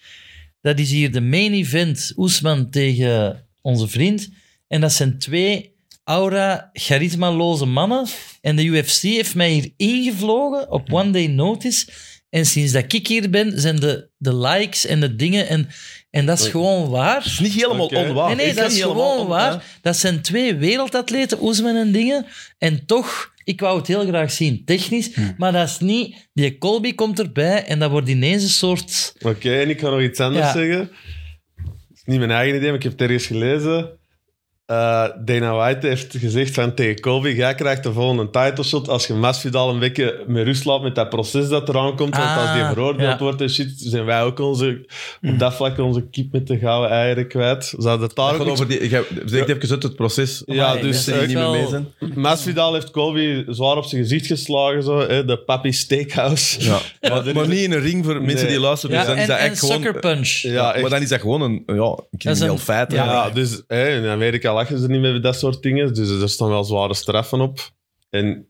dat is hier de main event, Oesman tegen onze vriend. En dat zijn twee aura, charismaloze mannen. En de UFC heeft mij hier ingevlogen
Hmm.
op one day notice. En sinds dat ik hier ben, zijn de, de likes en de dingen. En, en dat is gewoon waar.
Het is niet helemaal
Oké.
onwaar.
Nee, nee,
Oh, Ik
dat
vind
is
het helemaal
gewoon
onwaar.
waar. Dat zijn twee wereldatleten, Oesman en dingen. En toch, ik wou het heel graag zien, technisch.
Hm.
Maar dat is niet... Die Colby komt erbij en dat wordt ineens een soort...
Oké, en ik ga nog iets anders
Ja.
zeggen. Het is niet mijn eigen idee, maar ik heb het ergens gelezen. Eh, Dana White heeft gezegd van tegen Colby, jij krijgt de volgende title shot als je Masvidal een beetje met rust laat met dat proces dat eraan komt.
Ah,
want als die veroordeeld
ja. Mm.
wordt en shit, zijn wij ook onze, op dat vlak onze kip met de gouden eieren kwijt. Zou dat daar
Dat
ook
gaat
iets
over die, ik heb, zeg even uit het proces.
Ja,
Maar
dus
mensen die
ook
niet meer
wel-
mee zijn.
Masvidal heeft Colby zwaar op zijn gezicht geslagen, zo, hè, de Papi Steakhouse.
Ja.
Maar
Maar,
dit
maar
is-
niet in een ring voor mensen
Nee.
die luisteren.
Ja,
dus dan is
en,
dat
en
echt gewoon, eh,
Sucker Punch.
Ja, echt.
maar dan is dat gewoon een, ja, een crimineel feit.
Ja,
eigenlijk.
dus hè, in Amerika lachen ze niet meer met dat soort dingen. Dus er staan wel zware straffen op. En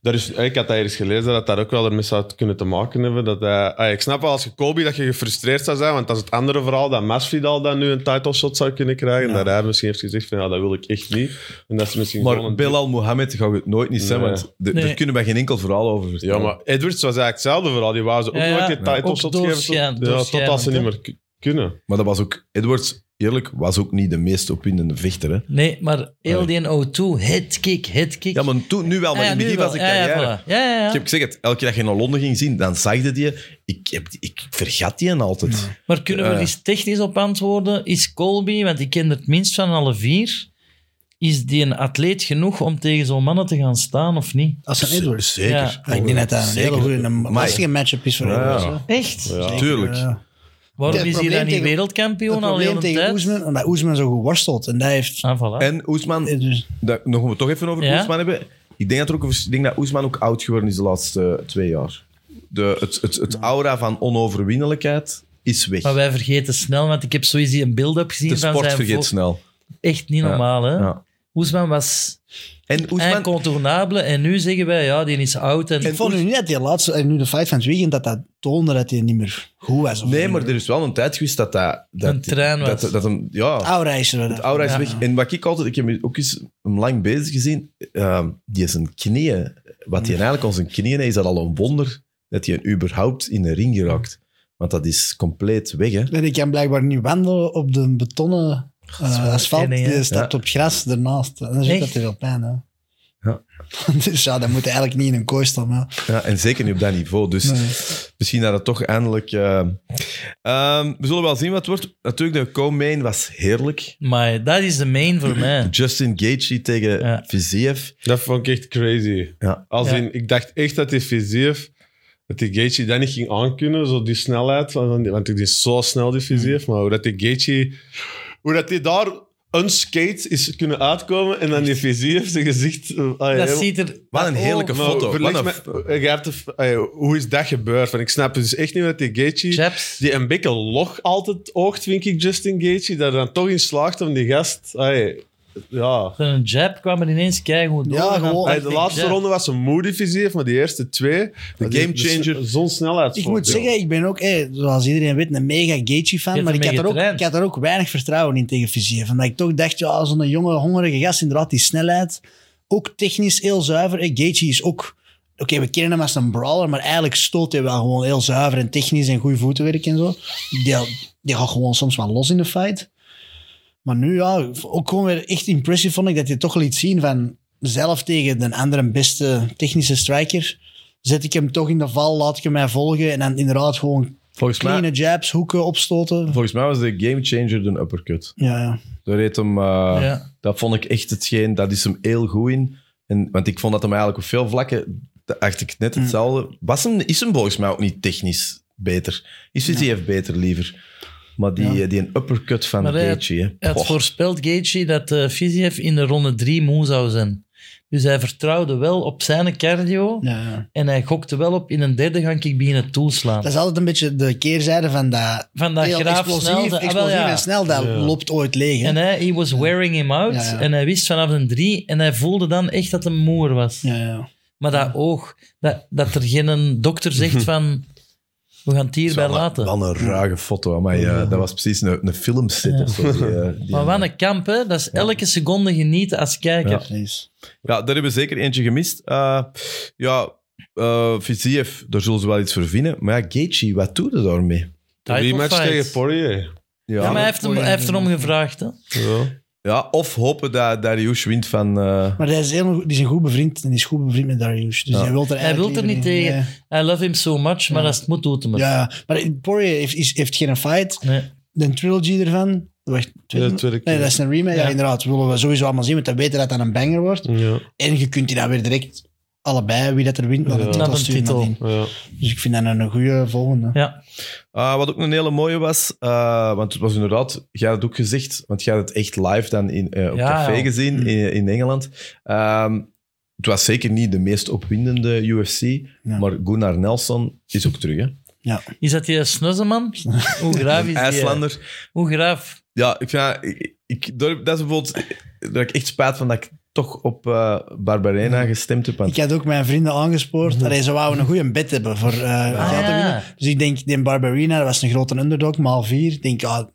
daar is, ik had dat ergens gelezen dat dat ook wel ermee zou kunnen te maken hebben. Dat hij- ah, ik snap wel als je Kobe dat je gefrustreerd zou zijn, want dat is het andere verhaal dat Masvidal dan nu een title shot zou kunnen krijgen. Dat hij misschien heeft gezegd van ja, dat wil ik echt niet. En dat is misschien gewoon
Maar
een-
Belal Mohammed gaan we het nooit niet zijn,
Nee.
want de-
Nee.
daar kunnen we geen enkel verhaal over vertellen.
Ja, maar Edwards was eigenlijk hetzelfde verhaal. Die wou ze ook
Ja, ja.
nooit een
Ja.
title
Ook
shot geven. tot-
doorschijn-
Ja, totdat ze
doorschijnend,
niet
hè?
meer k- kunnen.
Maar dat was ook... Edwards, eerlijk, was ook niet de meest opwindende vechter. Hè?
Nee, maar heel die O2, hit kick, hit kick.
Ja, maar toen, nu wel, maar
Ah ja,
in het
nu
begin
wel.
was ik
Ja, ja,
carrière.
voilà. Ja, ja, ja.
Ik heb gezegd, het, elke keer dat je naar Londen ging zien, dan zag je die. Ik, heb, die- ik vergat die altijd.
Maar kunnen we
Ja.
er eens technisch op antwoorden? Is Colby, want ik ken er het minst van alle vier, is die een atleet genoeg om tegen zo'n mannen te gaan staan of niet?
Als een Edwards.
Ja.
Zeker.
Ja, ik denk dat dat een hele goede, een
Maar-
lastige matchup is voor
Ja.
Edwards. hoor.
Echt?
Ja.
Tuurlijk.
Ja.
Waarom
Het
is hij
probleem
dan niet
tegen-
wereldkampioen
Het
al heel
probleem
de
tegen
tijd?
Oesman, omdat Oesman zo goed worstelt. En dat heeft...
Ah, voilà.
En Oesman,
Dus,
daar nog moeten we het toch even over
Ja?
Oesman hebben. Ik denk dat, er ook, een vers- ik denk dat Oesman ook oud geworden is de laatste eh, twee jaar. De, het, het, het aura van onoverwinnelijkheid is weg.
Maar wij vergeten snel, want ik heb sowieso een beeld-up gezien
De
van
sport
zijn
vergeet
vo-
snel.
Echt niet
Ja.
normaal, hè?
Ja.
Oesman was
En Oesman,
incontournabele en nu zeggen wij, ja, die is oud. En...
ik vond nu niet dat die laatste, en nu de fight van het weekend, dat dat toonde dat hij niet meer goed was. of
nee,
niet.
maar er is wel een tijd geweest dat dat... dat
Een trein was.
Dat, dat hem, ja,
Aura is er.
Het aura is
Ja.
weg. En wat ik altijd... Ik heb ook eens hem lang bezig gezien. ehm, die is een knieën... Wat
Mm.
hij eigenlijk aan zijn knieën heeft, is dat al een wonder dat hij überhaupt in de ring geraakt. Want dat is compleet weg, hè.
Nee, die kan blijkbaar niet wandelen op de betonnen eh,
wel
asfalt.
kenning, hè?
Die stapt
Ja.
op gras ernaast. En dan zit dat
Echt?
te veel pijn. Hè.
Ja.
dus ja, dat moet eigenlijk niet in een kooi staan. hè.
Ja, en zeker niet op dat niveau. Dus
Nee.
misschien dat het toch eindelijk... ehm, ehm, we zullen wel zien wat het wordt. Natuurlijk, de co-main was heerlijk.
Maar dat is de main voor mij.
Justin Gaethje tegen
Ja.
Viziev.
Dat vond ik echt crazy.
Ja.
Als
Ja.
in, ik dacht echt dat die Fiziev, dat die Gaethje dat niet ging aankunnen, zo die snelheid. Want want die is zo snel, die Fiziev. Maar hoe dat die Gaethje, hoe dat die daar unscathed is kunnen uitkomen en dan die Fiziev zijn gezicht... eh, ah, nou,
Dat
ja,
ziet er...
Wat een heerlijke
maar
foto.
vergelijk
Wat een
met-
f-
eh, je hebt de f- ah, ja, hoe is dat gebeurd? Want ik snap dus echt niet hoe dat die Gaethje...
Chaps.
Die een beetje log altijd oogt, vind ik, Justin Gaethje. Daar dan toch in slaagt om die gast... ah, ja, ja,
Oh, Een jab kwam er ineens keigoed door.
Ja,
En dan
gewoon.
dacht
Hey, de
ik,
laatste
ja.
ronde was een moody fysiek, maar die eerste twee...
De gamechanger.
Zo'n snelheid.
Ik moet zeggen, ik ben ook, hé, zoals iedereen weet, een mega
Je
Gaethje-fan.
hebt
Maar ik
ermee
had, er ook,
getraind.
ik had er ook weinig vertrouwen in tegen Vizier. Omdat ik toch dacht, ja, zo'n jonge, hongerige gast, inderdaad, die snelheid. Ook technisch heel zuiver. Hé, Gaethje is ook... Oké, we kennen hem als een brawler, maar eigenlijk stoot hij wel gewoon heel zuiver en technisch en goed voetenwerk en zo. Die, die gaat gewoon soms wel los in de fight. Maar nu, ja, ook gewoon weer echt impressief vond ik dat hij toch liet zien van zelf tegen de andere beste technische striker. Zet ik hem toch in de val, laat ik hem mij volgen en dan inderdaad gewoon
Volgens
kleine
mij,
jabs, hoeken opstoten.
volgens mij was de gamechanger de uppercut.
Ja, ja.
Daar heet hem... eh,
Ja.
Dat vond ik echt hetgeen, dat is hem heel goed in. En, want ik vond dat hem eigenlijk op veel vlakken, dacht ik net hetzelfde. Was hem, is hem volgens mij ook niet technisch beter. Is Viziev beter liever. Maar die,
Ja.
eh, die een uppercut van
Maar hij had-
Gaethje,
Hij
hè.
had
Goh,
voorspeld, Gaethje, dat eh Fiziev in de ronde drie moe zou zijn. Dus hij vertrouwde wel op zijn cardio
ja, ja.
en hij gokte wel op in een derde ga ik beginnen toeslaan.
Dat is altijd een beetje de keerzijde van dat
Van dat
heel
graaf
explosief,
snel. dat- ah,
explosief
wel, ja.
en snel, dat
Ja.
loopt ooit leeg. hè.
En hij he was wearing him out.
Ja, ja.
En hij wist vanaf een drie. En hij voelde dan echt dat hij moer was.
ja, ja.
Maar dat oog, dat, dat er geen dokter
Mhm.
zegt van... We gaan het hierbij
wel een-
laten.
Wel een ruige foto, maar eh, dat was precies een, een filmset of zo. die, eh, die-
maar wat een kamp, hè. Dat is elke seconde genieten als kijker.
Ja.
Precies.
Ja, daar hebben we zeker eentje gemist. Eh, ja, eh Viziev, daar zullen ze wel iets voor vinden. Maar ja, Gaethje, wat doe je daarmee?
Die
Title
rematch
fight.
tegen Poirier.
Ja, maar hij heeft, hem, hij heeft erom gevraagd, hè.
Ja.
Ja, of hopen dat Darius wint van... eh,
Maar hij is, heel, die is een goed bevriend en is goed bevriend met Darius. Dus
Ja.
hij wil er eigenlijk
wil er
liever in.
niet tegen.
Nee.
I love him so much, maar als het moet, doet hem het.
Ja, maar Poirier heeft, is- heeft geen fight.
Nee.
De trilogy ervan. Wacht, tweede-
de tweede
Nee,
keer.
dat is een remake. Ja.
Ja.
inderdaad. Dat willen we sowieso allemaal zien, want we weten dat dat een banger wordt.
Ja.
En je kunt die dan weer direct allebei, wie dat er wint, naar de
Ja.
titel
Naar de
sturen.
titel.
nadien.
Ja.
Dus ik vind dat een goede volgende.
Ja.
Ah, wat ook een hele mooie was, eh, want het was inderdaad, jij had het ook gezegd, want jij had het echt live dan in, eh, op
Ja,
café
ja.
gezien in, in Engeland. Ehm, het was zeker niet de meest opwindende UFC, maar Gunnar Nelson is ook terug. Hè?
Is dat die snuzzeman? Hoe graaf is die? eh,
IJslander.
Hoe graaf?
Ja, ik vind, dat- ik, ik- daar- dat is bijvoorbeeld, eh, dat ik echt spijt van dat ik toch op eh Barbarena gestemd heb. Want
Ik had ook mijn vrienden aangespoord. Allee, ze wouden een goede bed hebben voor eh Gat te
Ah, ja.
winnen. Dus ik denk, die Barbarina dat was een grote underdog, maal vier. Ik denk, ah,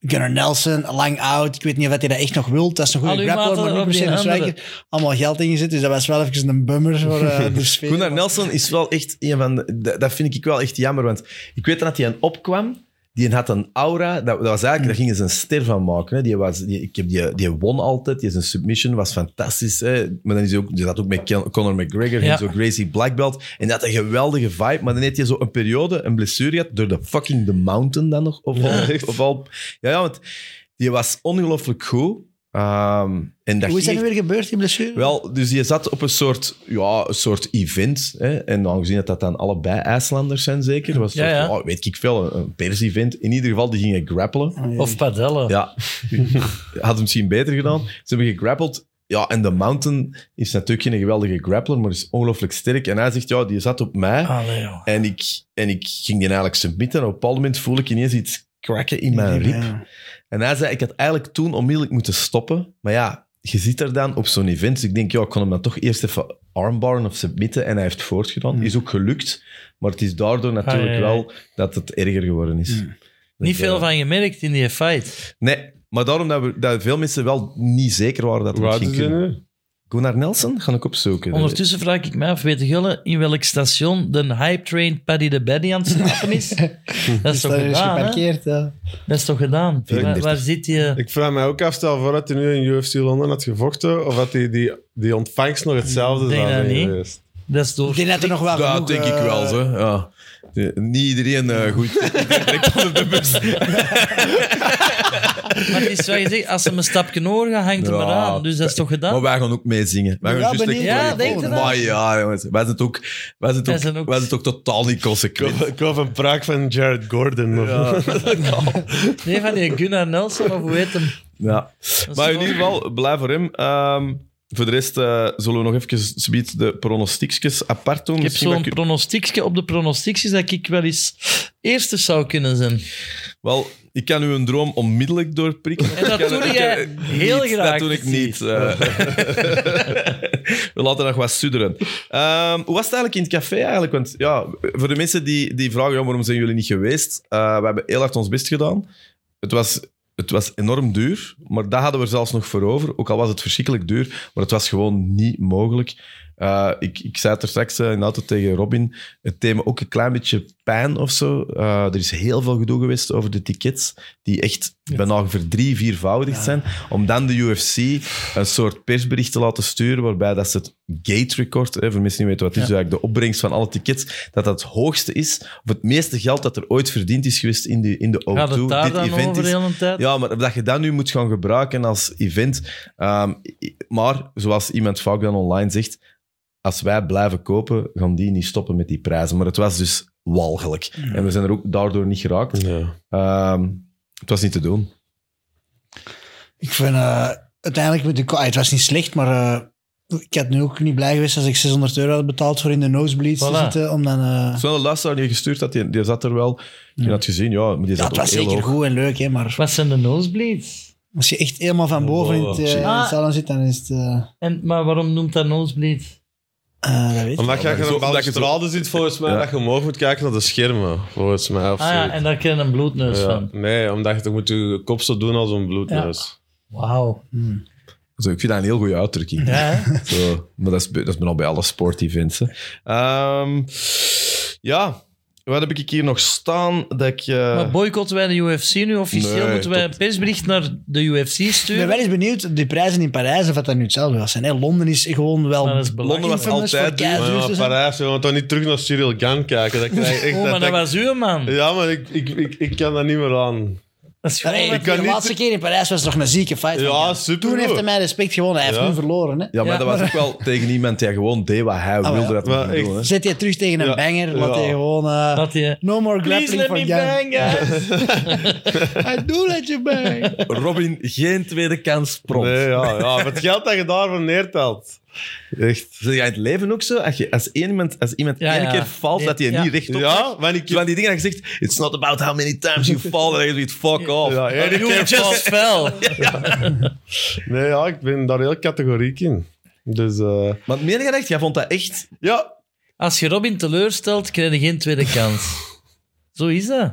Gunnar Nelson, lang oud. Ik weet niet of hij dat echt nog wil. Dat is een
Al
goede
uw
grappler,
maten
maar niet
op
per se
die
een
andere.
striker. Allemaal geld ingezet, dus dat was wel even een bummer voor eh, de sfeer.
Gunnar Nelson is wel echt een van de, dat- dat vind ik wel echt jammer, want ik weet dat hij aan opkwam. Die had een aura, dat, dat was eigenlijk, daar gingen ze een ster van maken. Hè. Die, was, die, ik heb die, die won altijd, die zijn submission was fantastisch. Hè. Maar dan is hij ook, die zat ook met Ken- Conor McGregor,
Ja.
en zo Gracie Black Belt. En dat had een geweldige vibe, maar dan heeft hij zo een periode, een blessure gehad, door de fucking The Mountain dan nog. Of al, of al, ja, ja, want die was ongelooflijk goed. Ehm, en dat
Hoe is dat
ging
nu weer gebeurd, die blessure?
wel, dus je zat op een soort, ja, een soort event. Hè? En aangezien dat dat dan allebei IJslanders zijn, zeker, was het
Ja,
soort,
ja.
oh, weet ik veel, een- een pers-event. In ieder geval, die gingen grappelen.
Ah, ja.
Of padellen.
Ja, had het misschien beter gedaan. Ze hebben gegrappeld. Ja, en The Mountain is natuurlijk geen geweldige grappler, maar is ongelooflijk sterk. En hij zegt, ja, die zat op mij.
Allee, joh.
En, ik, en ik ging die eigenlijk submitten. En op een bepaald moment voel ik ineens iets krakken in mijn rib.
Ja.
En hij zei, ik had eigenlijk toen onmiddellijk moeten stoppen. Maar ja, je zit er dan op zo'n event. Dus ik denk, ja, ik kon hem dan toch eerst even armbaren of submitten. En hij heeft voortgedaan.
Mm.
Is ook gelukt. Maar het is daardoor natuurlijk
Hmm. Ah, ja, ja.
wel dat het erger geworden is.
Mm.
Dus,
Niet veel
eh,
van gemerkt in die fight.
Nee, maar daarom dat, we, dat veel mensen wel niet zeker waren dat
Hoe
het
oud
ging
is die
kunnen.
nu?
Gunnar Nelson ga ik opzoeken.
Ondertussen vraag ik mij af, weet Gulle in welk station de hype train Paddy de Baddy aan het snappen is? dat is
Dus
toch
daar is
gedaan, hè?
geparkeerd. Ja.
Dat is toch gedaan? Waar,
34.
waar zit je?
Ik vraag mij ook af, stel voor dat hij nu in UFC Londen had gevochten, of dat die, die, die ontvangst nog hetzelfde
Ik denk
zou
dat
zijn
niet.
geweest.
Dat is door...
Ik denk dat er nog wel
Ja,
genoeg,
dat denk ik
eh,
wel. Zo. Ja. De- Niet iedereen eh, goed. Ik onder de bus.
Maar het is wat je zegt, als ze me een stapje horen gaan, hangt het
Ja,
maar aan. Dus dat is toch
Maar
gedaan?
wij gaan ook meezingen. Wij gaan
Ja,
juist
benieuwd.
echt-
Ja, denk je dat?
Maar ja, jongens. Wij zijn het ook, wij zijn het
Wij
ook,
zijn ook-
wij zijn het ook totaal niet
Ik hoop-
consequent.
Ik hoop een praak van Jared Gordon. of-
Nee, van die Gunnar Nelson, of hoe heet hem?
Ja.
is
Maar in
wel-
ieder geval, blij voor hem. Ehm, voor de rest eh, zullen we nog even zometeen de pronostiekjes apart doen.
Ik heb
Misschien
zo'n
dat ik-
pronostiekje op de pronostiekjes dat ik wel eens eerste zou kunnen zijn.
Wel, ik kan uw droom onmiddellijk doorprikken.
En dat
Ik kan-
doe
ik
jij
kan-
heel
niet,
graag,
Dat doe ik
precies.
niet. eh. we laten nog wat sudderen. Ehm, hoe was het eigenlijk in het café eigenlijk? Want ja, voor de mensen die, die vragen, ja, waarom zijn jullie niet geweest? Eh, we hebben heel hard ons best gedaan. Het was, het was enorm duur, maar dat hadden we er zelfs nog voor over. Ook al was het verschrikkelijk duur, maar het was gewoon niet mogelijk. Eh, ik, ik zei het er straks eh, in de auto tegen Robin, het thema ook een klein beetje pijn of zo. Eh, er is heel veel gedoe geweest over de tickets, die echt bijna verdrie, viervoudigd
Ja.
zijn. Om dan de UFC een soort persbericht te laten sturen, waarbij dat ze het gate record, hè, voor mensen die niet weten wat het is,
Ja.
eigenlijk de opbrengst van alle tickets, dat dat het hoogste is, of het meeste geld dat er ooit verdiend is geweest in de, in de O2.
Gaat het daar
Dit
dan
event
over
is
de hele tijd?
ja, maar dat je dat nu moet gaan gebruiken als event. Ehm, i- maar zoals iemand vaak dan online zegt, als wij blijven kopen, gaan die niet stoppen met die prijzen. Maar het was dus walgelijk. En we zijn er ook daardoor niet geraakt. Ehm, het was niet te doen.
Ik vind eh, uiteindelijk, met de, ko- ah, het was niet slecht, maar eh, ik had nu ook niet blij geweest als ik 600 euro had betaald voor in de nosebleeds te
Voilà.
zitten. Om dan, eh,
Het is wel een luisteraar die je gestuurd had, die, die zat er wel. Je had gezien, ja, maar die
ja,
zat
het
ook
was
heel
zeker
hoog.
goed en leuk, hè, maar
Wat zijn de nosebleeds?
als je echt helemaal van boven in het, eh, in het
Ah.
salon zit, dan is het... eh,
En, maar waarom noemt dat nosebleed?
eh, dat weet ik.
Omdat je
Omdat je
achter
zo-
een
omdat je zo-
balustrade zit, volgens mij,
Ja.
dat je omhoog moet kijken naar de schermen. Volgens mij, of
Ah ja,
zoiets.
en daar krijg je een bloedneus
Ja.
van.
Nee, omdat je toch moet je kop zo doen als een bloedneus.
Wauw.
Hmm.
Zo, ik vind dat een heel goede uitdrukking.
Ja, hè?
Zo, maar dat is, dat is bijna bij alle sportevents. hè. Ehm, ja, wat heb ik hier nog staan? Dat ik, eh,
maar boycotten wij de UFC nu officieel?
Nee,
Moeten wij
tot-
een persbericht naar de UFC
Ik ben
sturen?
wel eens benieuwd, die prijzen in Parijs, of dat dat nu hetzelfde was. En, hè, Londen is gewoon wel...
Maar dat is dus belachelijk.
Londen was
infamous voor dus-
altijd duur.
Maar
keiduur
ja,
te
maar
zijn.
Parijs, we gaan toch niet terug naar Cyril Gang kijken. Dat krijg je echt,
Oh, maar
dat-
dat
dat-
was uw man.
Ja, maar ik, ik, ik, ik kan dat niet meer aan.
Dat is gewoon
Allee,
wat-
kan
de
niet-
laatste keer in Parijs was het toch een zieke fight.
Ja,
van-
super
Toen heeft
goed.
hij mij respect gewonnen. Hij heeft
Ja.
nu verloren. Hè.
Ja, maar
Ja,
dat was ook wel tegen iemand die gewoon deed wat hij
ja.
wilde dat hij
Maar
ging
echt-
doen. Hè.
Zet hij terug tegen een
Ja.
banger, laat
Ja.
hij gewoon... eh,
dat je...
No more
Please
grappling
let
for
me
young.
bang, guys.
I do let you bang.
Robin, geen tweede kans prompt.
Nee, ja, ja. maar Het geld dat je daarvoor neertelt. Echt.
Zeg jij in het leven ook zo? Als, je, als één iemand, als iemand
Ja,
één
ja.
keer valt, dat hij
Ja.
niet rechtop
Ja, want ik...
Zo Van die dingen dat je zegt, it's not about how many times you fall, en dan je fuck off.
Ja,
You
Erik heeft-
just fell.
Nee, ja, ik ben daar heel categoriek in. Dus eh,
Maar meer dan echt, jij vond dat echt...
ja,
Als je Robin teleurstelt, krijg je geen tweede kans. Zo is dat.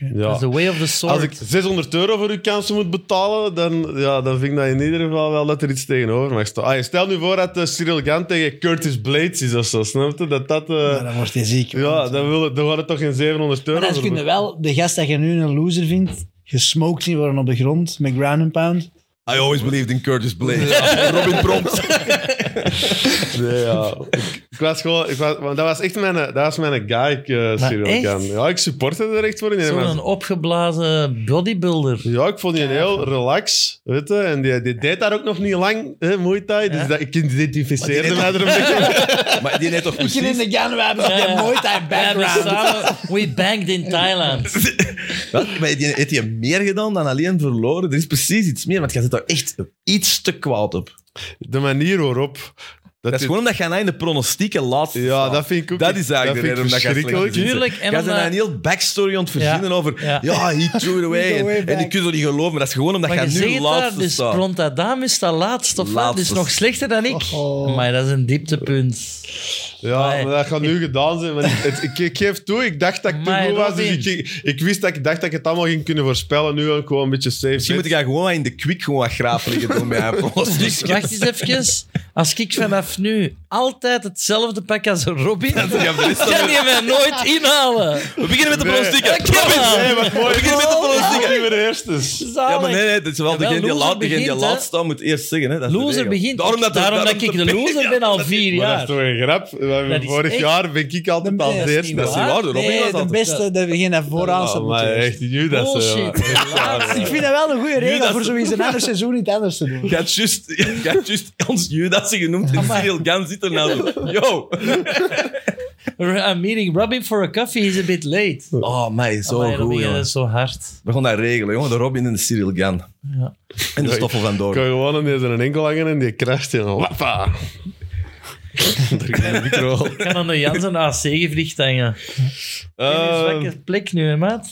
Dat is
ja.
the way of the sword.
Als ik 600 euro voor uw kansen moet betalen, dan, ja, dan vind ik dat in ieder geval wel dat er iets tegenover mag staan. Ah, stel nu voor dat eh, Cyril Gant tegen Curtis Blades is of zo, snap je? Dat dat... eh,
Maar dan wordt hij ziek.
ja, dan, wil, dan gaat het toch geen 700 euro
Maar dan
voor
kun je wel de gast dat je nu een loser vindt, gesmoked zien worden op de grond met ground and pound.
I always believed in Curtis Blade. Robin Prompt.
Nee, ja. ik, ik was gewoon... Ik was, want dat was echt mijn, dat was mijn guy, ik, eh, Cyril
echt?
Jan. Ja, ik supportte er echt voor. in. En
Zo'n
was-
opgeblazen bodybuilder.
Ja, ik vond die heel relax, weet je. En die, die deed daar ook nog niet lang, hè, Muay Thai. Dus
Ja.
dat, ik identificeerde
Maar
mij er een beetje.
maar die net toch
Ik in
precies...
de Jan, we hebben een mooi tijd
We hebben
background.
samen... We banked in Thailand.
Wat? Maar die, heeft hij meer gedaan dan alleen verloren? Er is precies iets meer, want jij zit daar echt iets te kwaad op. Dat,
De manier waarop... Dat,
is
die-
gewoon omdat jij nou in de pronostieken laat
Ja, dat vind ik ook...
Dat is eigenlijk de
vind
reden
ik
omdat jij
verschrikkelijk.
slecht
Tuurlijk,
zit.
en
Jij bent
omdat-
een heel backstory aan het verzinnen
Ja,
over... Ja.
ja.
he threw it away.
He threw it
en, en die
back.
kunt het niet geloven, maar dat is gewoon omdat
Maar
jij
je zegt
nu
het daar,
laatste
dus
staat.
Prontadam is dat laatste of wat? Dus
Laatste.
nog slechter dan ik.
Oh.
Maar dat is een dieptepunt.
Ja,
Amai.
maar dat gaat nu gedaan zijn. want het- ik, ik geef toe, ik dacht dat ik te
Amai,
goed was. Dus
Robin.
ik, ik, ik wist dat ik dacht dat ik het allemaal ging kunnen voorspellen. Nu ga ik gewoon een beetje safe.
Misschien moet
bet.
jij gewoon wat in de kwik gewoon wat grapelijker doen bij haar
Dus
pronostieken.
wacht eens even. Als ik vanaf nu altijd hetzelfde pak als Robin,
Ja, maar er is toch-
kan je mij nooit inhalen.
We beginnen met de
Nee.
pronostieken.
Dat kan wel.
Hey, wat mooi.
We beginnen met de pronostieken.
niet meer eerst is.
Ja, maar nee,
Zalig.
nee, dat is wel
Jawel,
degene die
loser
laat, degene die
begint, hè.
laat staat, moet eerst zeggen. Hè. Dat is de
Loser
regel.
begint.
Daarom dat,
daarom dat ik de loser ben al vier
Maar dat is
jaar.
toch een grap? We hebben
Dat is
Vorig
echt-
jaar ben ik altijd
Nee,
als
dat is
eerste.
niet
Ah,
Dat is niet waar, de Robin
Nee,
was
de
altijd-
beste, dat begin dat vooraan staat.
maar
moeten.
echt, nu dat is, eh,
Bullshit.
Ik vind dat wel een goede regel
dat-
voor zoiets een ander seizoen niet anders te doen.
Je had juist- je had juist ons Judassen genoemd en Cyril Gan zit er nou zo. Yo!
I'm meeting Robin for a coffee. He's a bit late.
Oh, mij, zo
Amai,
goed,
Robin,
jongen.
dat is zo hard.
We gaan dat regelen, jongen. De Robin en de Cyril Gan.
Ja.
En de Stoffel van
Ik kan
Doorn.
gewoon aan deze een enkel hangen en die crasht in. Wappa! Druk in de micro.
Ik kan aan de Jans een AC-gevlicht hangen.
Ehm,
Eh,
Uh, zwakke plek nu, hè, maat?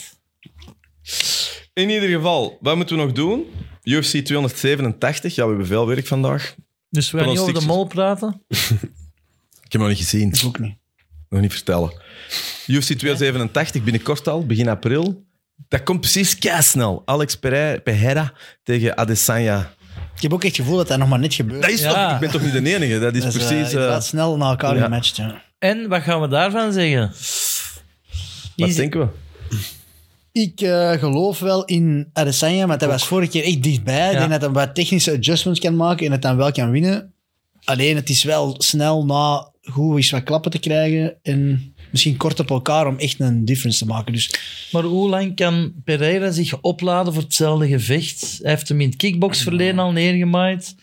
in ieder geval, wat moeten we nog doen? UFC 287. Ja, we hebben veel werk vandaag.
Dus we gaan niet over de mol praten.
Ik heb hem nog niet gezien.
ook niet.
Nog niet vertellen. UFC 287, binnenkort al, begin april. Dat komt precies snel. Alex Pere- Pereira tegen Adesanya.
Ik heb ook echt het gevoel dat dat nog maar net gebeurt.
Dat is
Ja.
toch... Ik ben toch niet de enige? Dat is
Dat is, eh,
precies... eh,
inderdaad snel na elkaar
ja.
gematcht. Ja.
En wat gaan we daarvan zeggen?
wat
Is-
denken we?
Ik eh, geloof wel in Adesanya, maar dat was vorige keer echt dichtbij. Ik
Ja.
denk dat hij wat technische adjustments kan maken en het dan wel kan winnen. Alleen het is wel snel na goed eens wat klappen te krijgen en misschien kort op elkaar om echt een difference te maken. Dus
Maar hoe lang kan Pereira zich opladen voor hetzelfde gevecht? Hij heeft hem in het kickboxverleden al neergemaaid.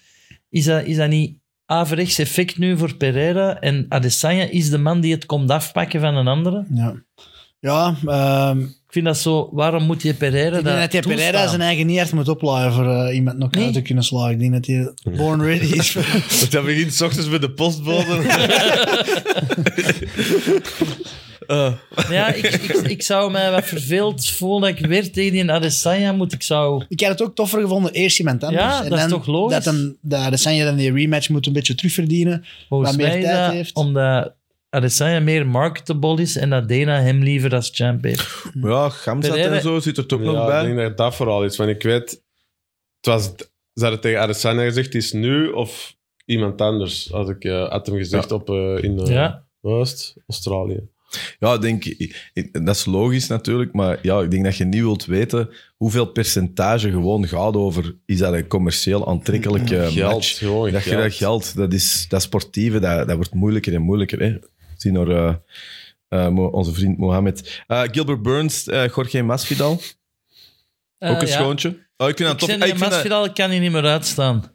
Is dat, is dat niet averechts effect nu voor Pereira? En Adesanya is de man die het komt afpakken van een andere?
ja. Ja, ehm,
Ik vind dat zo... Waarom moet je Pereira
ik denk
dat
dat hij
toestaan?
Pereira zijn eigen niet echt moet oplaaien voor eh, iemand nog
Nee.
uit te kunnen slagen. Ik denk dat hij born ready is. voor-
Dat begint 's ochtends met de postbode.
Ja, ik, ik, ik zou mij wat verveeld voelen dat ik weer tegen die Adesanya moet. Ik zou...
ik had het ook toffer gevonden, eerst iemand anders.
Ja, dat is toch logisch?
Dat, hem, dat Adesanya dan die rematch moet een beetje terugverdienen.
Volgens
Wat meer
mij is
tijd
dat
heeft.
omdat Adesanya meer marketable is en dat Dana hem liever als champ heeft.
Ja, Gamzat
Pereira-
en zo zit er toch nog
Ja, ik
bij.
denk dat dat vooral is. Want ik weet, het was, ze hadden tegen Adesanya gezegd, het is nu of iemand anders. Had ik eh, had hem gezegd op, eh, in eh,
Ja.
Oost, Australië.
Ja, ik denk, ik- ik- dat is logisch natuurlijk, maar ja, ik denk dat je niet wilt weten hoeveel percentage gewoon gaat over is dat een commercieel aantrekkelijke
Geld,
match.
gewoon
dat, je
geld.
dat geld, dat is dat sportieve, dat, dat wordt moeilijker en moeilijker. Hè? Zie naar eh, eh, Mo- onze vriend Mohamed. Eh, Gilbert Burns, eh, Jorge Masvidal, ook een
Eh, ja.
schoontje. Oh, ik vind dat
Ik
tof.
vind
Ah,
die
ik vind dat-
Masvidal kan hier niet meer uitstaan.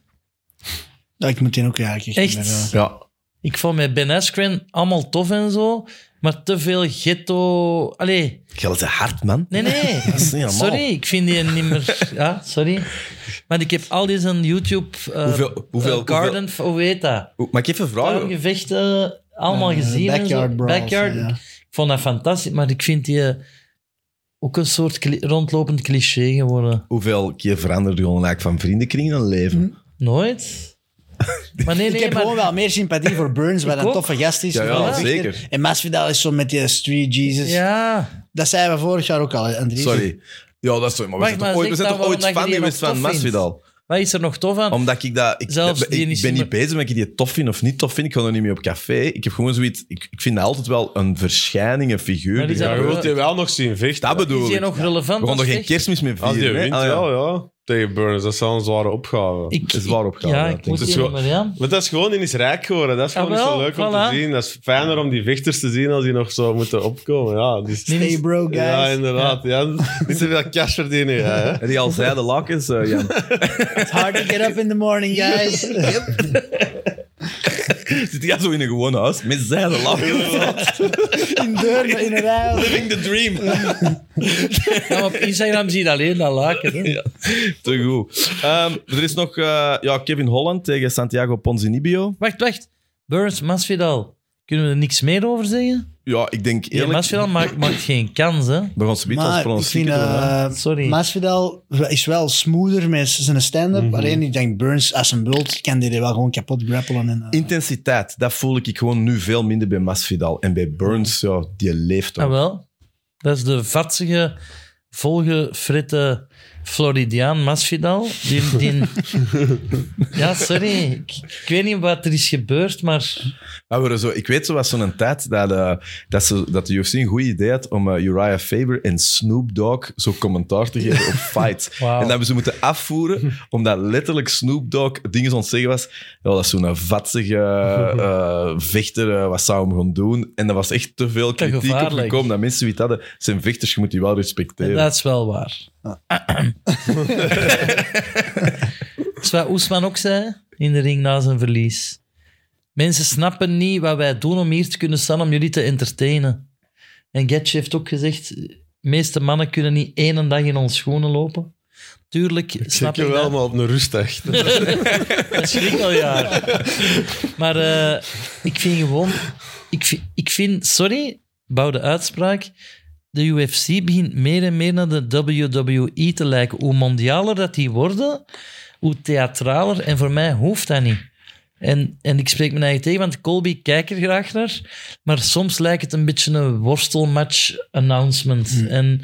Ja, ik moet die ook eigenlijk echt.
Echt.
niet meer, eh, ja.
Ja,
Ik vond met Ben Askren allemaal tof en zo, maar te veel ghetto... Allee,
geld is hard, man.
nee, nee.
Dat is niet normaal.
Sorry, ik vind die niet meer... Ja, sorry. Maar ik heb al die zijn YouTube... eh,
Hoeveel- hoeveel-
eh, Garden, hoe heet dat?
O, Mag ik even vragen?
Tuingevechten, allemaal
Eh,
gezien. en zo.
backyard brawls,
Backyard.
ja.
Ik vond dat fantastisch, maar ik vind die eh, ook een soort cli- rondlopend cliché geworden.
Hoeveel keer veranderde je eigenlijk van vriendenkring in een leven?
Hm? Nooit. Maar nee,
Ik
nee,
heb
maar...
gewoon wel meer sympathie voor Burns, wat een
ook.
toffe gast is.
Ja, ja,
Wel dichter.
zeker.
En Masvidal is zo met die Street Jesus.
Ja.
Dat zeiden we vorig jaar ook al. Andries.
Sorry. Ja, dat is toch. Maar we
Wacht,
zijn toch
maar
ooit, we
zeg
zijn
dan
toch ooit
waarom dat
fan
je die
geweest
nog
van
tof vindt.
Masvidal?
Wat is er nog tof aan?
Omdat ik dat... Ik,
Zelfs
dat-
die
ik
is
ben
niet
niet bezig met ik die tof vind of niet tof vind. Ik ga er niet mee op café. Ik heb gewoon zoiets... Ik, ik vind dat altijd wel een verschijning, een figuur.
Maar
die-
die
Dat,
zijn-
Ja, je wilt die wel nog zien vechten.
bedoel
Is
ik.
die nog relevant?
We gaan
als
er geen
echt?
kerstmis mee
Als die
vieren. hè?
wint,
Ah, ja.
wel, ja. tegen Burns. Dat zou een zware opgave.
Ik,
is waar opgave,
Ja,
ik
ik
denk.
moet
Het is
hier nog
gewoon-
maar aan.
Maar dat is gewoon, die is rijk geworden. Dat is
Ah,
gewoon niet zo
wel,
leuk om
voilà.
te zien. Dat is fijner om die vechters te zien als die nog zo moeten opkomen. Ja, dus-
Nee,
Hey bro, guys.
ja inderdaad. Ja. niet zoveel cash verdienen. Ja, hè.
En die al zei de lak is, eh, Jan.
It's hard to get up in the morning, guys.
Zit jij zo in een gewoon huis met zij de lak?
in deur, maar in een rij.
Living the dream.
Ja, maar Nou, op Instagram zie je alleen dat laken. hè.
Te goed. Ehm, er is nog eh, ja, Kevin Holland tegen Santiago Ponzinibbio.
Wacht, wacht. Burns, Masvidal. Kunnen we er niks meer over zeggen?
Ja, ik denk
Ja,
eerlijk...
Masvidal maakt, maakt geen kans, hè?
We gaan ze niet als
Maar ik
pronostiek
vind
doen, hè.
eh
Sorry.
Masvidal is wel smoother met zijn stand-up.
Mhm.
Alleen ik denk Burns als een bult kan die er wel gewoon kapot grappelen. En, eh,
Intensiteit, dat voel ik gewoon nu veel minder bij Masvidal. En bij Burns, ja, die leeft toch.
Ah, wel. Dat is de vatsige, volgefritte Floridiaan Masvidal. Die, die... ja, sorry. Ik, ik weet niet wat er is gebeurd, maar...
Maar we waren zo, ik weet zo was zo'n tijd dat, eh, dat, ze, dat de UFC een goed idee had om eh, Uriah Faber en Snoop Dogg zo commentaar te geven op fights.
Wauw.
En dat hebben ze moeten afvoeren, omdat letterlijk Snoop Dogg dingen aan het zeggen was. Ja, dat is zo'n vatsige eh, vechter, eh, wat zou hem gaan doen? En er was echt te veel kritiek op
gevaarlijk.
gekomen dat mensen zoiets hadden. Zijn vechters, je moet die wel respecteren.
Dat is wel waar. dat is wat Oesman ook zei in de ring na zijn verlies. Mensen snappen niet wat wij doen om hier te kunnen staan, om jullie te entertainen. En Getje heeft ook gezegd, de meeste mannen kunnen niet één dag in onze schoenen lopen. Tuurlijk, snap
Zeker
ik
wel,
dat.
maar op een rustdag.
Dat schrik al jaren. Maar eh, ik vind gewoon... Ik vind, ik vind sorry, bouw de uitspraak. De UFC begint meer en meer naar de WWE te lijken. Hoe mondialer dat die worden, hoe theatraler. En voor mij hoeft dat niet. En, en ik spreek me eigen tegen, want Colby kijkt er graag naar. Maar soms lijkt het een beetje een worstelmatch-announcement. En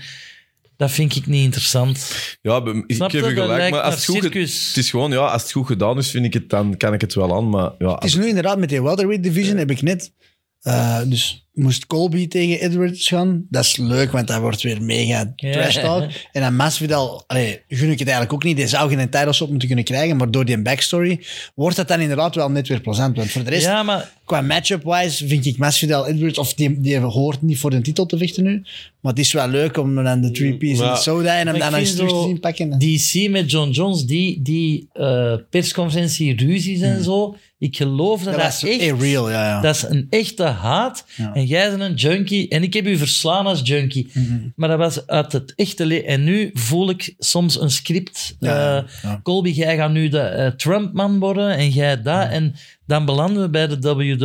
dat vind ik niet interessant.
Ja, bij- ik
Snap
heb je
je? Dat
gelijk,
lijkt
maar als
naar
het, goed, ge-
circus.
het is gewoon, ja, als het goed gedaan is, vind ik het, dan kan ik het wel aan. Maar ja,
het is nu inderdaad met die welterweight division heb ik net... eh, dus moest Colby tegen Edwards gaan. Dat is leuk, want dat wordt weer mega
Ja.
trash talk. En dan Masvidal, allee, gun ik het eigenlijk ook niet. Die zou geen titles op moeten kunnen krijgen, maar door die backstory wordt dat dan inderdaad wel net weer plezant. Want voor de rest,
Ja, maar
qua matchup-wise vind ik Masvidal Edwards, of die, die hoort niet voor de titel te vechten nu, maar het is wel leuk om dan de three piece en
Maar-
soda en hem
maar
dan
ik
eens
vind
terug te
zo-
zien pakken.
DC met John Jones, die, die eh, persconferentie, ruzies en zo. Ik geloof dat
dat
dat,
was
echt...
echt real, ja. ja.
Dat is een echte haat.
Ja.
En jij bent een junkie. En ik heb u verslaan als junkie.
Mhm.
Maar dat was uit het echte leven. En nu voel ik soms een script.
Ja,
Eh,
ja.
Colby, jij gaat nu de eh, Trump-man worden. En jij dat. En dan belanden we bij de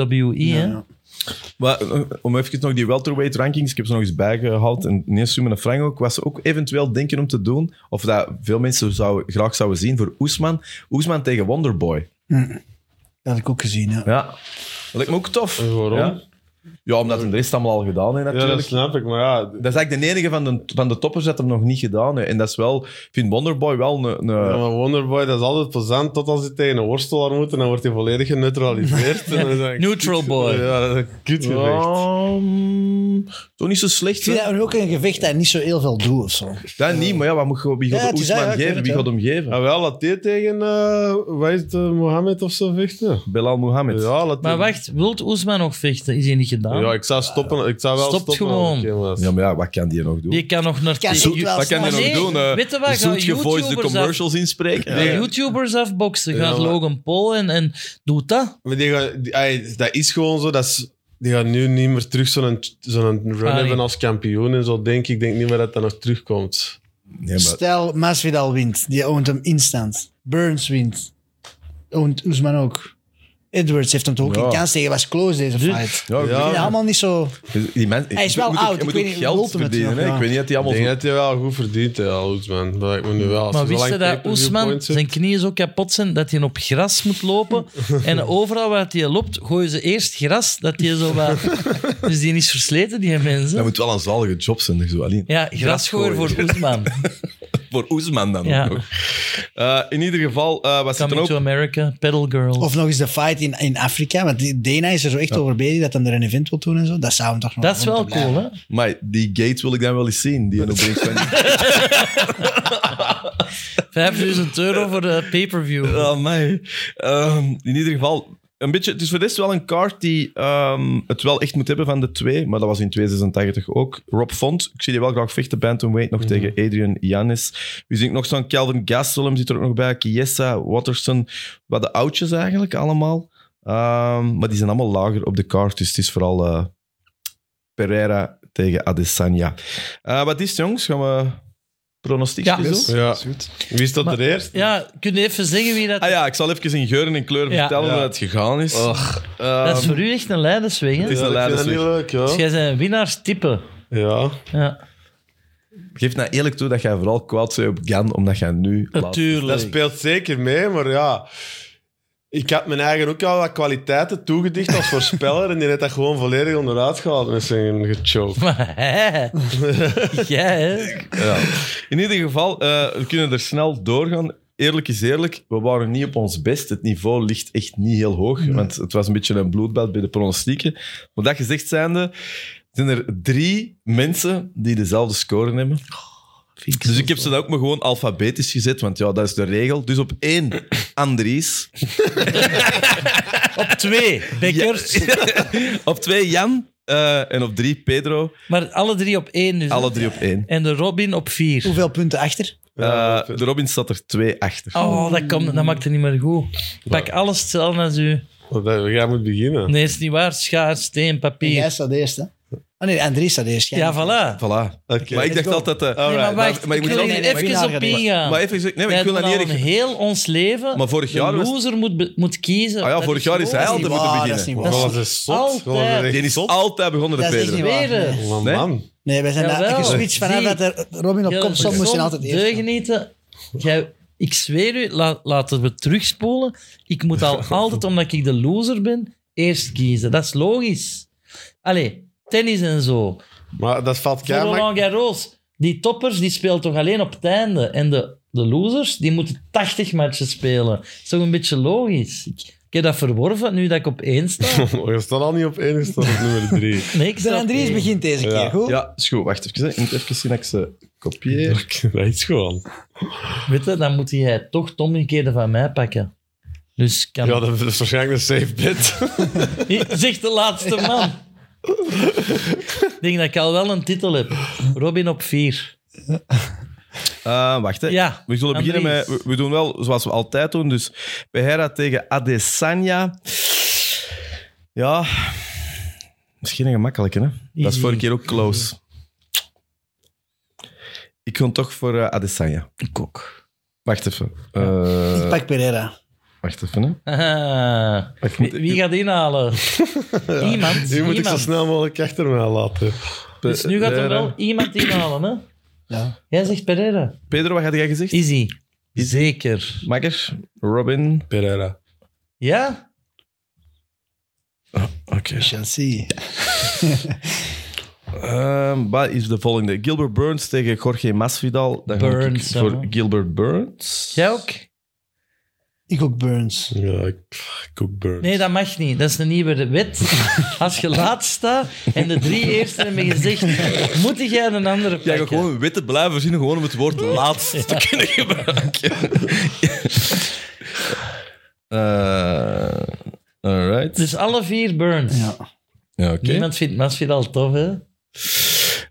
WWE.
Ja,
hè?
ja.
Maar eh, om even nog die welterweight rankings, ik heb ze nog eens bijgehaald. En Neersum en Frank ook, was ze ook eventueel denken om te doen. Of dat veel mensen zouden, graag zouden zien voor Oesman. Oesman tegen Wonderboy.
Dat had ik ook gezien, ja.
Ja, dat lijkt me ook tof.
En waarom?
Ja, ja omdat hem de rest allemaal al gedaan heeft
Ja,
natuurlijk.
dat snap ik. Maar ja,
dat is eigenlijk de enige van de, van de toppers dat hem nog niet gedaan heeft. En dat is wel, ik vind Wonderboy wel een... een-
Ja, maar Wonderboy, dat is altijd plezant. Tot als hij tegen een worstelaar moet en dan wordt hij volledig geneutraliseerd. En dan is dat een
Neutral
kut-
boy.
Ja, dat is een kutgevecht.
Ehm, toch niet zo
Ik
slecht. hè?
vind dat ook een gevecht dat niet zo heel veel doet of zo.
Dat niet, maar ja, wat moet, je- wie gaat
Ja,
de
het is
Oesman
eigenlijk,
geven?
ik
Wie
weet
gaat
het,
hem geven?
Ja, wel, laat die tegen, eh wat is het, eh, Mohammed of zo vechten.
Belal Mohammed.
Ja, laat die-
Maar wacht, wilt Oesman nog vechten? Is hij niet gedaan?
Ja, ik zou stoppen. Ik zou wel
Stopt
stoppen.
gewoon.
als ik hem was.
Ja, maar ja, wat kan die nog doen?
Die kan nog naar...
Kan
tegen-
zoet wel
Wat kan je nog
Nee,
doen? eh?
weet je wat, ga
Zoet gevoiced de
YouTubers
commercials inspreken.
De
Ja.
YouTubers afboksen.
Ja,
Gaat
maar-
Logan Paul en, en doet dat.
Maar die gaan, die- ey, dat is gewoon zo. Dat is, die gaan nu niet meer terug zo'n zo'n run
Ah, nee.
hebben als kampioen en zo. Denk ik. ik denk niet meer dat dat nog terugkomt.
Nee, maar
Stel, Masvidal wint. Die oont hem instant. Burns wint. Oont Oesman ook. Edwards heeft hem toch ook
Ja.
een kans tegen. was close deze
Dus-
fight.
ja, ik
Ik
Ja.
vind
bedoel,
dat allemaal niet zo...
dus die mensen-
Hij is wel
je moet ook-
oud,
Je moet
ik
ook
weet niet,
geld
Ultimate
verdienen.
nog,
hè?
ja.
Ik weet niet dat die
Ik
allemaal
denk
zo...
dat hij wel goed verdient, hè, Oesman. Dat lijkt me nu wel. Als
Maar
hij zo
wist je
lang
dat
pay-per-view
Oesman,
points heeft-
zijn knieën zo kapot zijn dat hij op gras moet lopen. en overal waar hij loopt, gooien ze eerst gras. Dat hij zo wat... dus die is versleten, die
Dat
mensen.
dus moet wel een zalige job zijn. Zo, alleen.
Ja, gras gooien voor Oesman.
voor Oesman dan
Ja.
ook nog. Eh, in ieder geval, eh was het dan
Coming
ook...
to America, Pedal Girl.
Of nog eens de fight in, in Afrika. Want die- Dana is er zo echt over bezig dat hij er een event wil doen en zo. Dat zou hem toch nog
dat is wel
moeten blijven.
cool, hè?
Maar die gate wil ik dan wel eens zien. Die in de brink van...
5000 euro voor de pay-per-view.
Oh, mij. in ieder geval, een beetje, het is voor de rest wel een kaart die ehm, het wel echt moet hebben van de twee. Maar dat was in 286 ook. Rob Font, ik zie die wel graag vechten. Bantamweight nog tegen Adrian Janis. Wie zie ik nog zo'n Calvin Gastelum zit er ook nog bij. Chiesa, Watterson. Wat de oudjes eigenlijk allemaal. Ehm, maar die zijn allemaal lager op de kaart. Dus het is vooral eh, Pereira tegen Adesanya. Eh, wat is het, jongens? Gaan we pronostiekjes
Ja.
doen?
Ja.
is goed.
Wie is dat
Maar-
er eerst?
Ja, kun je even zeggen wie dat...
Ah ja, ik zal even in geuren en kleuren
Ja.
vertellen
Ja.
hoe het gegaan is.
Och,
Ehm,
dat is voor u echt een leidersweg, hè?
Het is een
ik vind dat
leidersweg.
niet leuk,
Dus
hoor.
jij zijn winnaars typen.
Ja.
Ja,
Geef nou eerlijk toe dat jij vooral kwaad bent op Gan, omdat jij nu... laat-
Dat
natuurlijk.
speelt zeker mee, maar ja. Ik had mijn eigen ook al wat kwaliteiten toegedicht als voorspeller. en die heeft dat gewoon volledig onderuit gehaald met zijn gechoke.
Maar hè? Jij, hè?
Ja. In ieder geval, eh, we kunnen er snel doorgaan. Eerlijk is eerlijk, we waren niet op ons best. Het niveau ligt echt niet heel hoog,
Mm.
want het was een beetje een bloedbad bij de pronostieken. Maar dat gezegd zijnde, zijn er drie mensen die dezelfde score hebben.
Oh,
Dus ik heb ze dan ook maar gewoon alfabetisch gezet, want ja, dat is de regel. Dus op één, Andries.
Op twee, Bekkers.
op twee, Jan. Eh, en op drie, Pedro.
Maar alle drie op één dus. hè?
Alle drie op één.
En de Robin op vier.
Hoeveel punten achter?
Eh, de Robin staat er twee achter.
Oh, dat, komt, dat maakt het niet meer goed. Pak alles hetzelfde als u.
Want dat- Jij moet beginnen.
Nee, is niet waar. Schaar, steen,
En jij
papier.
staat eerst, hè? Ah nee, Andries staat eerst. jij
Ja,
niet.
voilà.
Voilà.
Oké.
Maar ik dacht
go.
altijd... eh,
Nee, maar
alright,
wacht,
maar
ik
moet
wil
wel-
hier
nee, maar ik
even
wil
op
daar-
ingaan.
Maar even zeggen- nee, maar ik wil
Wij
dat niet
hebben al
erg...
een heel ons leven.
Maar vorig jaar
de
was-
loser moet, be- moet kiezen.
Ah ja, vorig jaar is hij
Dat
al
is
te
niet
moeten
waar,
beginnen.
dat is niet
Gewoon
waar.
als een zot.
altijd.
Gewoon als een
Die is
zot. Oh,
altijd begonnen met
Dat is echt
Pedro.
niet waar.
Tweede.
Man,
Nee?
man.
Nee, wij zijn daar
Jawel.
geswitcht vanaf
Zie.
dat er Robin op komt. Soms moest je altijd eerst.
Deugenieten. Jij, ik zweer u, la- laten we terugspoelen. Ik moet al altijd, omdat ik de loser ben, eerst kiezen. Dat is logisch. Allee, tennis en zo.
Maar dat valt
Voor
keihard.
Roland Garros, die toppers die spelen toch alleen op het einde. En de, de losers, die moeten 80 matchen spelen. Dat is toch een beetje logisch? Ik, ik heb dat verworven nu dat ik op één sta.
Je staat al niet op één, je staat op nummer drie.
Nee, ik sta
De
op
Andries
één.
begint deze
Ja.
keer, goed?
Ja, is goed. Wacht even. hè. Ik moet even zien dat ik ze kopieer.
Dat is gewoon.
Weet je, dan moet jij toch het omgekeerde van mij pakken. Dus kan
Ja, dat is waarschijnlijk een safe bet.
Zegt de laatste man. Ik denk dat ik al wel een titel heb. Robin op vier.
Eh, wacht, hè.
Ja,
We zullen
Andries.
beginnen met... We, we doen wel zoals we altijd doen. Dus Pereira tegen Adesanya. Ja... Misschien een gemakkelijke, hè? Dat is
Easy.
vorige keer ook close. Ik ga toch voor eh, Adesanya.
Ik ook.
Wacht even. Eh,
Ik pak Pereira.
wacht even, hè.
Haha. Wie, wie gaat inhalen? Iemand.
Die moet ik zo
iemand.
snel mogelijk achter mij laten.
Dus nu gaat er wel iemand inhalen. Hè?
Ja.
Jij zegt Pereira.
Pedro, wat had jij gezegd?
Easy. Zeker.
Makker, Robin.
Pereira.
Ja?
Oké.
We shall see.
Ehm, wat is de volgende? Gilbert Burns tegen Jorge Masvidal. Dan ga
Burns,
ik voor
ja.
Gilbert Burns.
Jij ook?
Ik ook Burns.
Ja, ik, ik ook Burns.
Nee, dat mag niet. Dat is een nieuwe wet. Als je laat staat en de drie eerste hebben gezegd, moet jij een andere pakken.
Jij gaat gewoon witte blijven verzinnen, gewoon om het woord laatst te kunnen gebruiken. Eh, alright.
Dus alle vier Burns.
Ja.
Ja, oké.
Niemand vindt Masvidal tof, hè?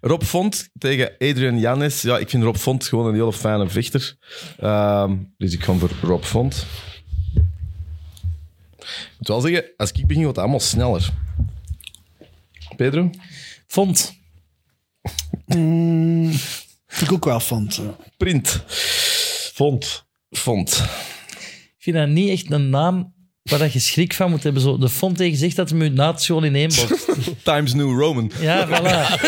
Rob Font tegen Adrian Janis. Ja, ik vind Rob Font gewoon een hele fijne vechter. Ehm, dus ik ga voor Rob Font. Ik moet wel zeggen, als ik begin, wordt het allemaal sneller. Pedro?
Vond.
Mm, ik ook wel vond.
Print.
Font.
Font.
Ik vind dat niet echt een naam waar dat je schrik van moet hebben. Zo, de Font tegen zegt dat hem uit naad schoon in één bocht.
Times New Roman.
Ja, voilà.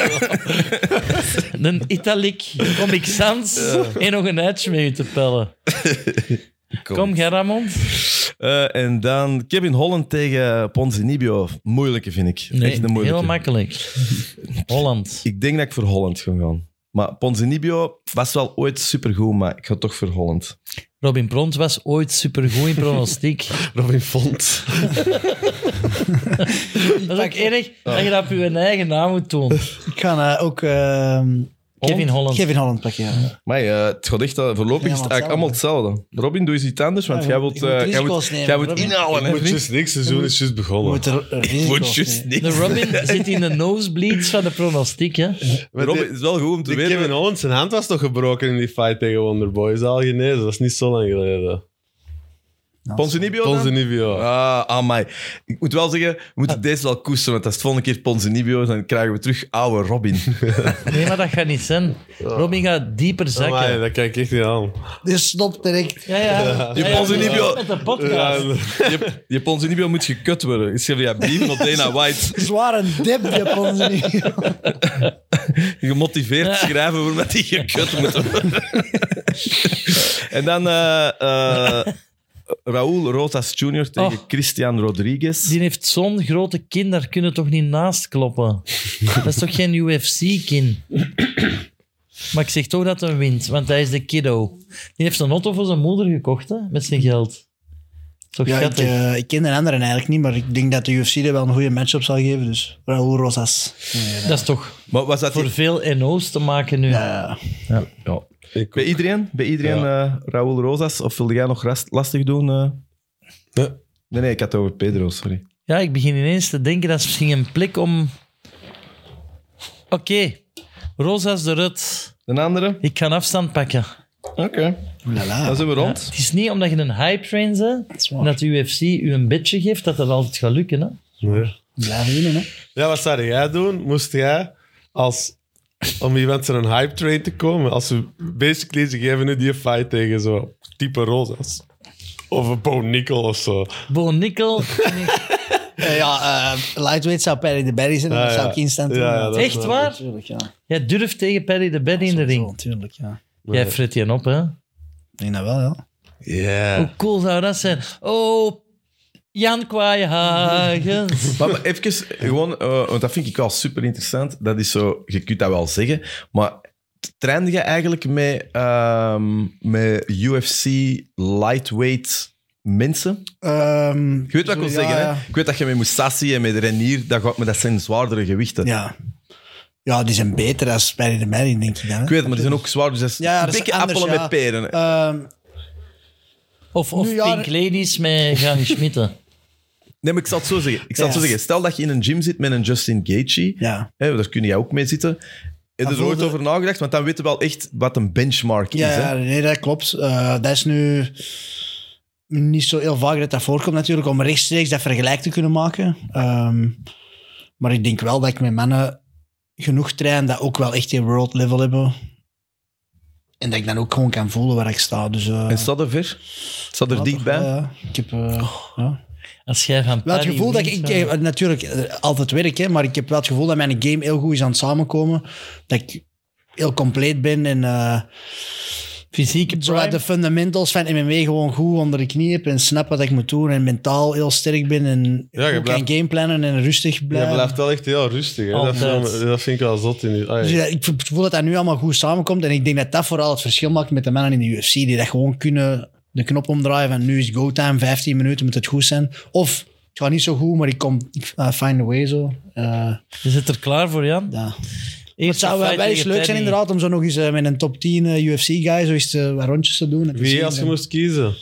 een Italic, Comic Sans en nog een uitje mee te pellen. Kom, Garamond.
Eh, en dan Kevin Holland tegen Ponzinibio. Moeilijke, vind ik.
Nee,
Echt een moeilijke.
heel makkelijk. Holland.
Ik denk dat ik voor Holland ga gaan. Maar Ponzinibio was wel ooit supergoed, maar ik ga toch voor Holland.
Robin Pront was ooit supergoed in pronostiek.
Robin Font.
Dat is ook erg dat je dat op je eigen naam moet doen.
Ik ga eh, ook ehm
Kevin Holland.
Kevin Holland pakken. Ja.
Maar eh, het gaat echt, eh, voorlopig is het eigenlijk allemaal hetzelfde. Robin, doe eens iets anders, want
Ja,
jij
je
wilt,
moet- je moet
eh, jij
risico's
wilt,
nemen,
jij wilt
Robin.
inhalen. hè,
Het is
vriend?
juist niks, seizoen is juist
Je
begonnen.
moet er eh,
Ik
risico's
word juist
nemen.
niet.
De Robin zit in de nosebleeds van de pronostiek. Hè?
Maar
Robin,
die-
het is wel goed om te
die Kevin
weten.
Owens, zijn hand was toch gebroken in die fight tegen Wonderboy. Is al genezen, dat is niet zo lang geleden.
Ponzinibio dan?
Ponzinibio.
Ah, amai. Ik moet wel zeggen, we
Ah.
moeten deze wel koesteren, want als het volgende keer Ponzinibio is, dan krijgen we terug oude Robin.
Nee, maar dat gaat niet zijn. Robin gaat dieper
Amai,
zakken.
dat kijk ik echt niet aan.
Dus stopt direct.
Ja, ja.
Je
Ja, ja,
Ponzinibio.
dat is Met de podcast.
Ja,
je, je Ponzinibio moet gekut worden. Ik schreef, ja, Bean, not Dana White.
Zwaar een dip, die Ponzinibio.
gemotiveerd schrijven voor met die gekut moeten worden. en dan eh eh, Raúl Rotas Jr. tegen
Oh.
Christian Rodriguez.
Die heeft zo'n grote kin, daar kunnen toch niet naast kloppen? Dat is toch geen UFC-kin? Maar ik zeg toch dat hij wint, want hij is de kiddo. Die heeft zijn auto voor zijn moeder gekocht, hè, met zijn geld. Toch
Ja, ik,
schattig.
eh, ik ken de anderen eigenlijk niet, maar ik denk dat de UFC er wel een goede match-up zal geven. Dus Raúl Rosas.
dat is toch
Maar was dat
voor
die-
veel NO's te maken nu.
eh, Ja,
Ja.
ik
Bij iedereen? Bij iedereen eh, Raúl Rosas? Of wilde jij nog ras- lastig doen? eh?
Nee.
Nee, nee, ik had het over Pedro, sorry.
Ja, ik begin ineens te denken, dat is misschien een plek om... Oké, Rosas de Rut.
Een andere?
Ik ga een afstand pakken.
Oké.
oelala.
Dan zijn we rond.
Het is niet omdat je een hype train bent,
is waar.
en dat de UFC je een beetje geeft, dat dat altijd gaat lukken. Hè?
Nee.
Blijven winnen, hè.
Ja, wat zou jij doen? Moest jij als om iemand zijn hype train te komen, als ze basically ze geven nu die fight tegen zo type Rosas of een Bo Nickel of zo.
Bo Nickel.
Eh, ja, eh, lightweight zou Perry de Berry zijn, en
Ah,
dat zou
ja.
ik instant
Ja,
doen.
ja, dat-
Echt waar?
Natuurlijk, ja.
Jij durft tegen Perry de bed in de
Sowieso,
ring.
Natuurlijk, ja.
Jij frit je op, hè?
Ik denk dat wel, ja.
Ja.
Hoe cool zou dat zijn? Oh, Jan Kwaaihagens.
Maar, maar even, gewoon, eh, want dat vind ik wel super interessant. Dat is zo, je kunt dat wel zeggen, maar trainde je eigenlijk met, ehm, met UFC lightweight mensen?
Ehm,
Je weet wat ik wil
ja,
zeggen,
ja.
hè? Ik weet dat je met Moussassi en met Renier, dat, gaat, maar dat zijn zwaardere gewichten.
Ja. Ja, die zijn beter dan Perry de Berry, denk ik dan. hè.
Ik weet het, maar die zijn ook zwaar, dus dat is
Ja, ja,
een
dat is
dikke
anders,
appelen
ja.
met peren. hè.
Ehm,
Of, of
Nu ja,
Pink Ladies met Gianni Schmitten.
Nee, maar ik zal het zo zeggen. Ik zal het
Ja.
zo zeggen. Stel dat je in een gym zit met een Justin Gaethje,
ja.
hè, daar kun je ook mee zitten. Heb je er
voelde-
ooit over nagedacht? Want dan weten we wel echt wat een benchmark
Ja,
is. Hè?
ja, nee, dat klopt. Eh, dat is nu niet zo heel vaak dat dat voorkomt natuurlijk, om rechtstreeks dat vergelijk te kunnen maken. Ehm, maar ik denk wel dat ik met mannen genoeg train dat ook wel echt die world level hebben. En dat ik dan ook gewoon kan voelen waar ik sta. Dus, eh,
En staat er ver? Staat er
ja,
dichtbij? Oh.
toch wel, ja. Ik heb... eh, ja.
Als jij van
Wel
Perry
het gevoel dat ik,
wint,
ik-
dan-
eh, natuurlijk eh, altijd werk, hè, maar ik heb wel het gevoel dat mijn game heel goed is aan het samenkomen. Dat ik heel compleet ben en eh,
Fysieke
zowat de
prime.
fundamentals van MMA gewoon goed onder de knie heb en snap wat ik moet doen en mentaal heel sterk ben en
Ja, je
goed
blijft-
kan gameplannen en rustig
Je
blijven.
blijft wel echt heel rustig. Hè? Dat,
Altijd.
vind, dat vind ik wel zot in die.
Dus
ai.
ja, ik voel dat dat nu allemaal goed samenkomt en ik denk dat dat vooral het verschil maakt met de mannen in de UFC die dat gewoon kunnen de knop omdraaien van nu is go time, 15 minuten moet het goed zijn. Of het gaat niet zo goed, maar ik kom, ik eh, find a way zo. Eh,
Je zit er klaar voor, Jan.
ja.
Eerst
Het zou wel wel eens leuk zijn inderdaad om zo nog eens eh, met een top 10 eh, UFC-guy zo eens te, wat rondjes te doen. en te zien.
Wie als je
En,
moest kiezen?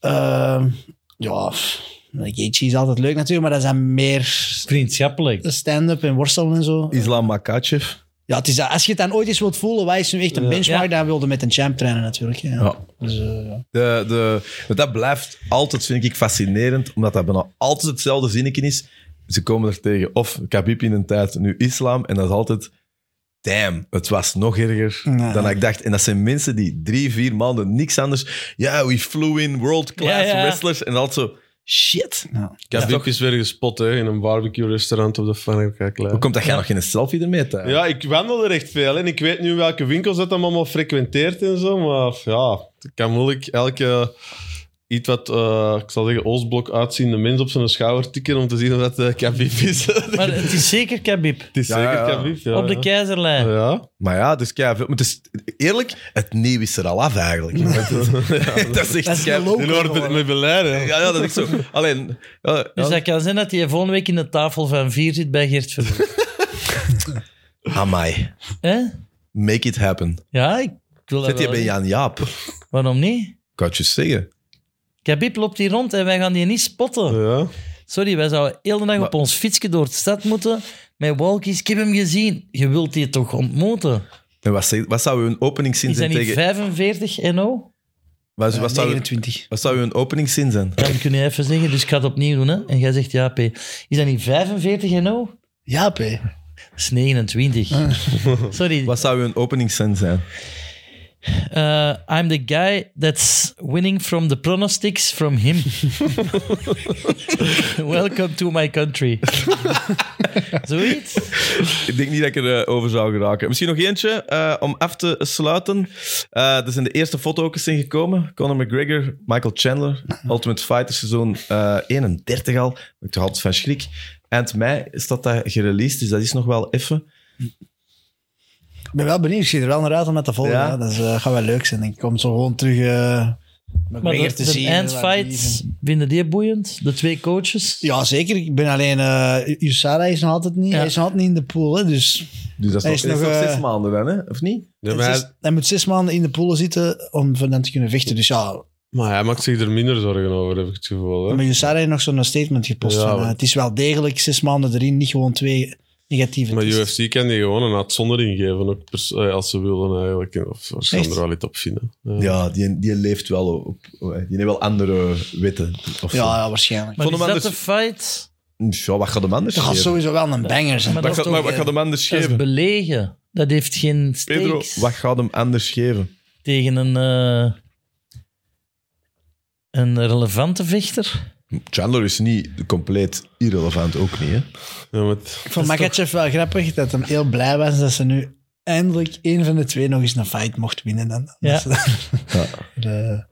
ehm, ja, pff, Gaethje is altijd leuk natuurlijk, maar dat zijn meer
Vriendschappelijk.
stand-up en worstelen en zo.
Islam Makachev.
Ja, het is, dat- als je het dan ooit eens wilt voelen, wij is nu echt een benchmark, dan wilde met een champ trainen natuurlijk. Ja.
Ja.
Dus, eh, ja.
De, de, want dat blijft altijd, vind ik, fascinerend, omdat dat bijna altijd hetzelfde zinnetje is. Ze komen er tegen, of Khabib in een tijd, nu islam, en dat is altijd... Damn, het was nog erger
Nee.
dan ik dacht. En dat zijn mensen die drie, vier maanden niks anders... Ja, we flew in world-class
Ja, ja.
wrestlers. En altijd zo... Shit.
Ik heb ook eens weer gespot hè, in een barbecue-restaurant op de Fanerka-klei.
Hoe komt dat jij nog geen selfie ermee hebt?
Ja, ik wandel er echt veel en ik weet nu welke winkels dat dan allemaal frequenteert en zo, maar ja, ik kan moeilijk elke iets wat, eh, ik zal zeggen, Oostblok uitziende mens op zijn schouder tikken om te zien of dat eh Khabib is. het
Maar het is zeker Khabib.
is
Ja,
zeker
ja.
Khabib, ja.
op de
ja.
keizerlijn.
Ja.
Maar ja, dus kei veel. Maar het is, eerlijk, het nieuw is er al af eigenlijk. dat is echt
Dat is
kei-
een loco
In orde
geworden.
met beleid, hè.
Ja, ja, dat is zo. Alleen, ja,
Dus
ja.
dat kan zijn dat hij volgende week in de tafel van vier zit bij Geert Verhoeven.
amai.
Hè?
Make it happen.
ja, ik wil dat
Zet je
wel.
bij Jan Jaap.
Waarom niet?
Ik had je zeggen.
Khabib loopt hier rond en wij gaan die niet spotten.
Ja.
Sorry, wij zouden heel de dag op ons fietsje door de stad moeten met walkies. Ik heb hem gezien. Je wilt die toch ontmoeten?
En wat, zeg- wat zou een openingszin
Is dat
zijn
niet
tegen...
45 NO?
Dus Wat,
Eh,
wat, zou,
29.
wat zou een openingszin zijn?
Dan kun je even zeggen, dus ik ga het opnieuw doen. Hè? En jij zegt ja, P. Is dat niet 45 NO?
Ja, P.
Dat is 29. Sorry.
Wat zou een openingszin zijn?
Uh, I'm the guy that's winning from the pronostics from him. Welcome to my country. Zoiets?
Ik denk niet dat ik erover over zou geraken. Misschien nog eentje eh, om af te sluiten. Eh er zijn de eerste foto ook eens in gekomen. Conor McGregor, Michael Chandler, Ultimate Fighter seizoen eh, 31 al. Ik toch altijd van schrik. Eind mei staat dat gereleased, dus dat is nog wel even.
Ik ben wel benieuwd. Ik zie er wel naar uit om met te volgen.
Ja.
hè. Dat is, eh, gaat wel leuk zijn. denk Ik kom zo gewoon terug eh nog
Maar
meer
de,
te
de
zien. eh, waar die
eindfights,
van-
vinden die boeiend? De twee coaches?
Ja, zeker. Ik ben alleen... eh Usada is nog altijd niet,
Ja.
hij is nog altijd niet in de pool. Hè, dus
Dus dat is,
Hij
nog,
is
dat is
nog,
nog
eh,
zes maanden dan, hè? of niet?
Ja, maar,
het is-
hij,
hij moet zes maanden in de pool zitten om van hem te kunnen vechten. Dus ja,
maar hij maakt zich er minder zorgen over, heb ik het gevoel. Hè?
maar Usada heeft nog zo'n statement gepost.
Ja,
van,
maar-
eh, het is wel degelijk zes maanden erin, niet gewoon twee negatieve
Maar
tests.
UFC kan die gewoon een uitzondering geven, ook pers- eh, als ze willen eigenlijk. Of ze gaan
Echt?
er wel iets op vinden. Ja.
Ja, die, die leeft wel op... oh, Die heeft wel andere wetten. Of
Ja,
ja.
ja, waarschijnlijk.
Maar
Vond
is
hem
dat
anders-
de fight?
ja, wat gaat hem anders
Dat gaat
geven?
sowieso wel een banger zijn.
Wat
Maar dat
gaat,
is
maar
toch-
wat gaat hem anders
Dat is
geven?
belegen. Dat heeft geen
Pedro,
stakes
wat gaat hem anders geven?
tegen een, eh, een relevante vechter.
Chandler is niet compleet irrelevant, ook niet. Hè?
Ja, maar het-
Ik vond Makachev wel grappig dat hem heel blij was dat ze nu eindelijk één van de twee nog eens een fight mocht winnen. Dan.
Ja.
Dat ze-
Ja.
De-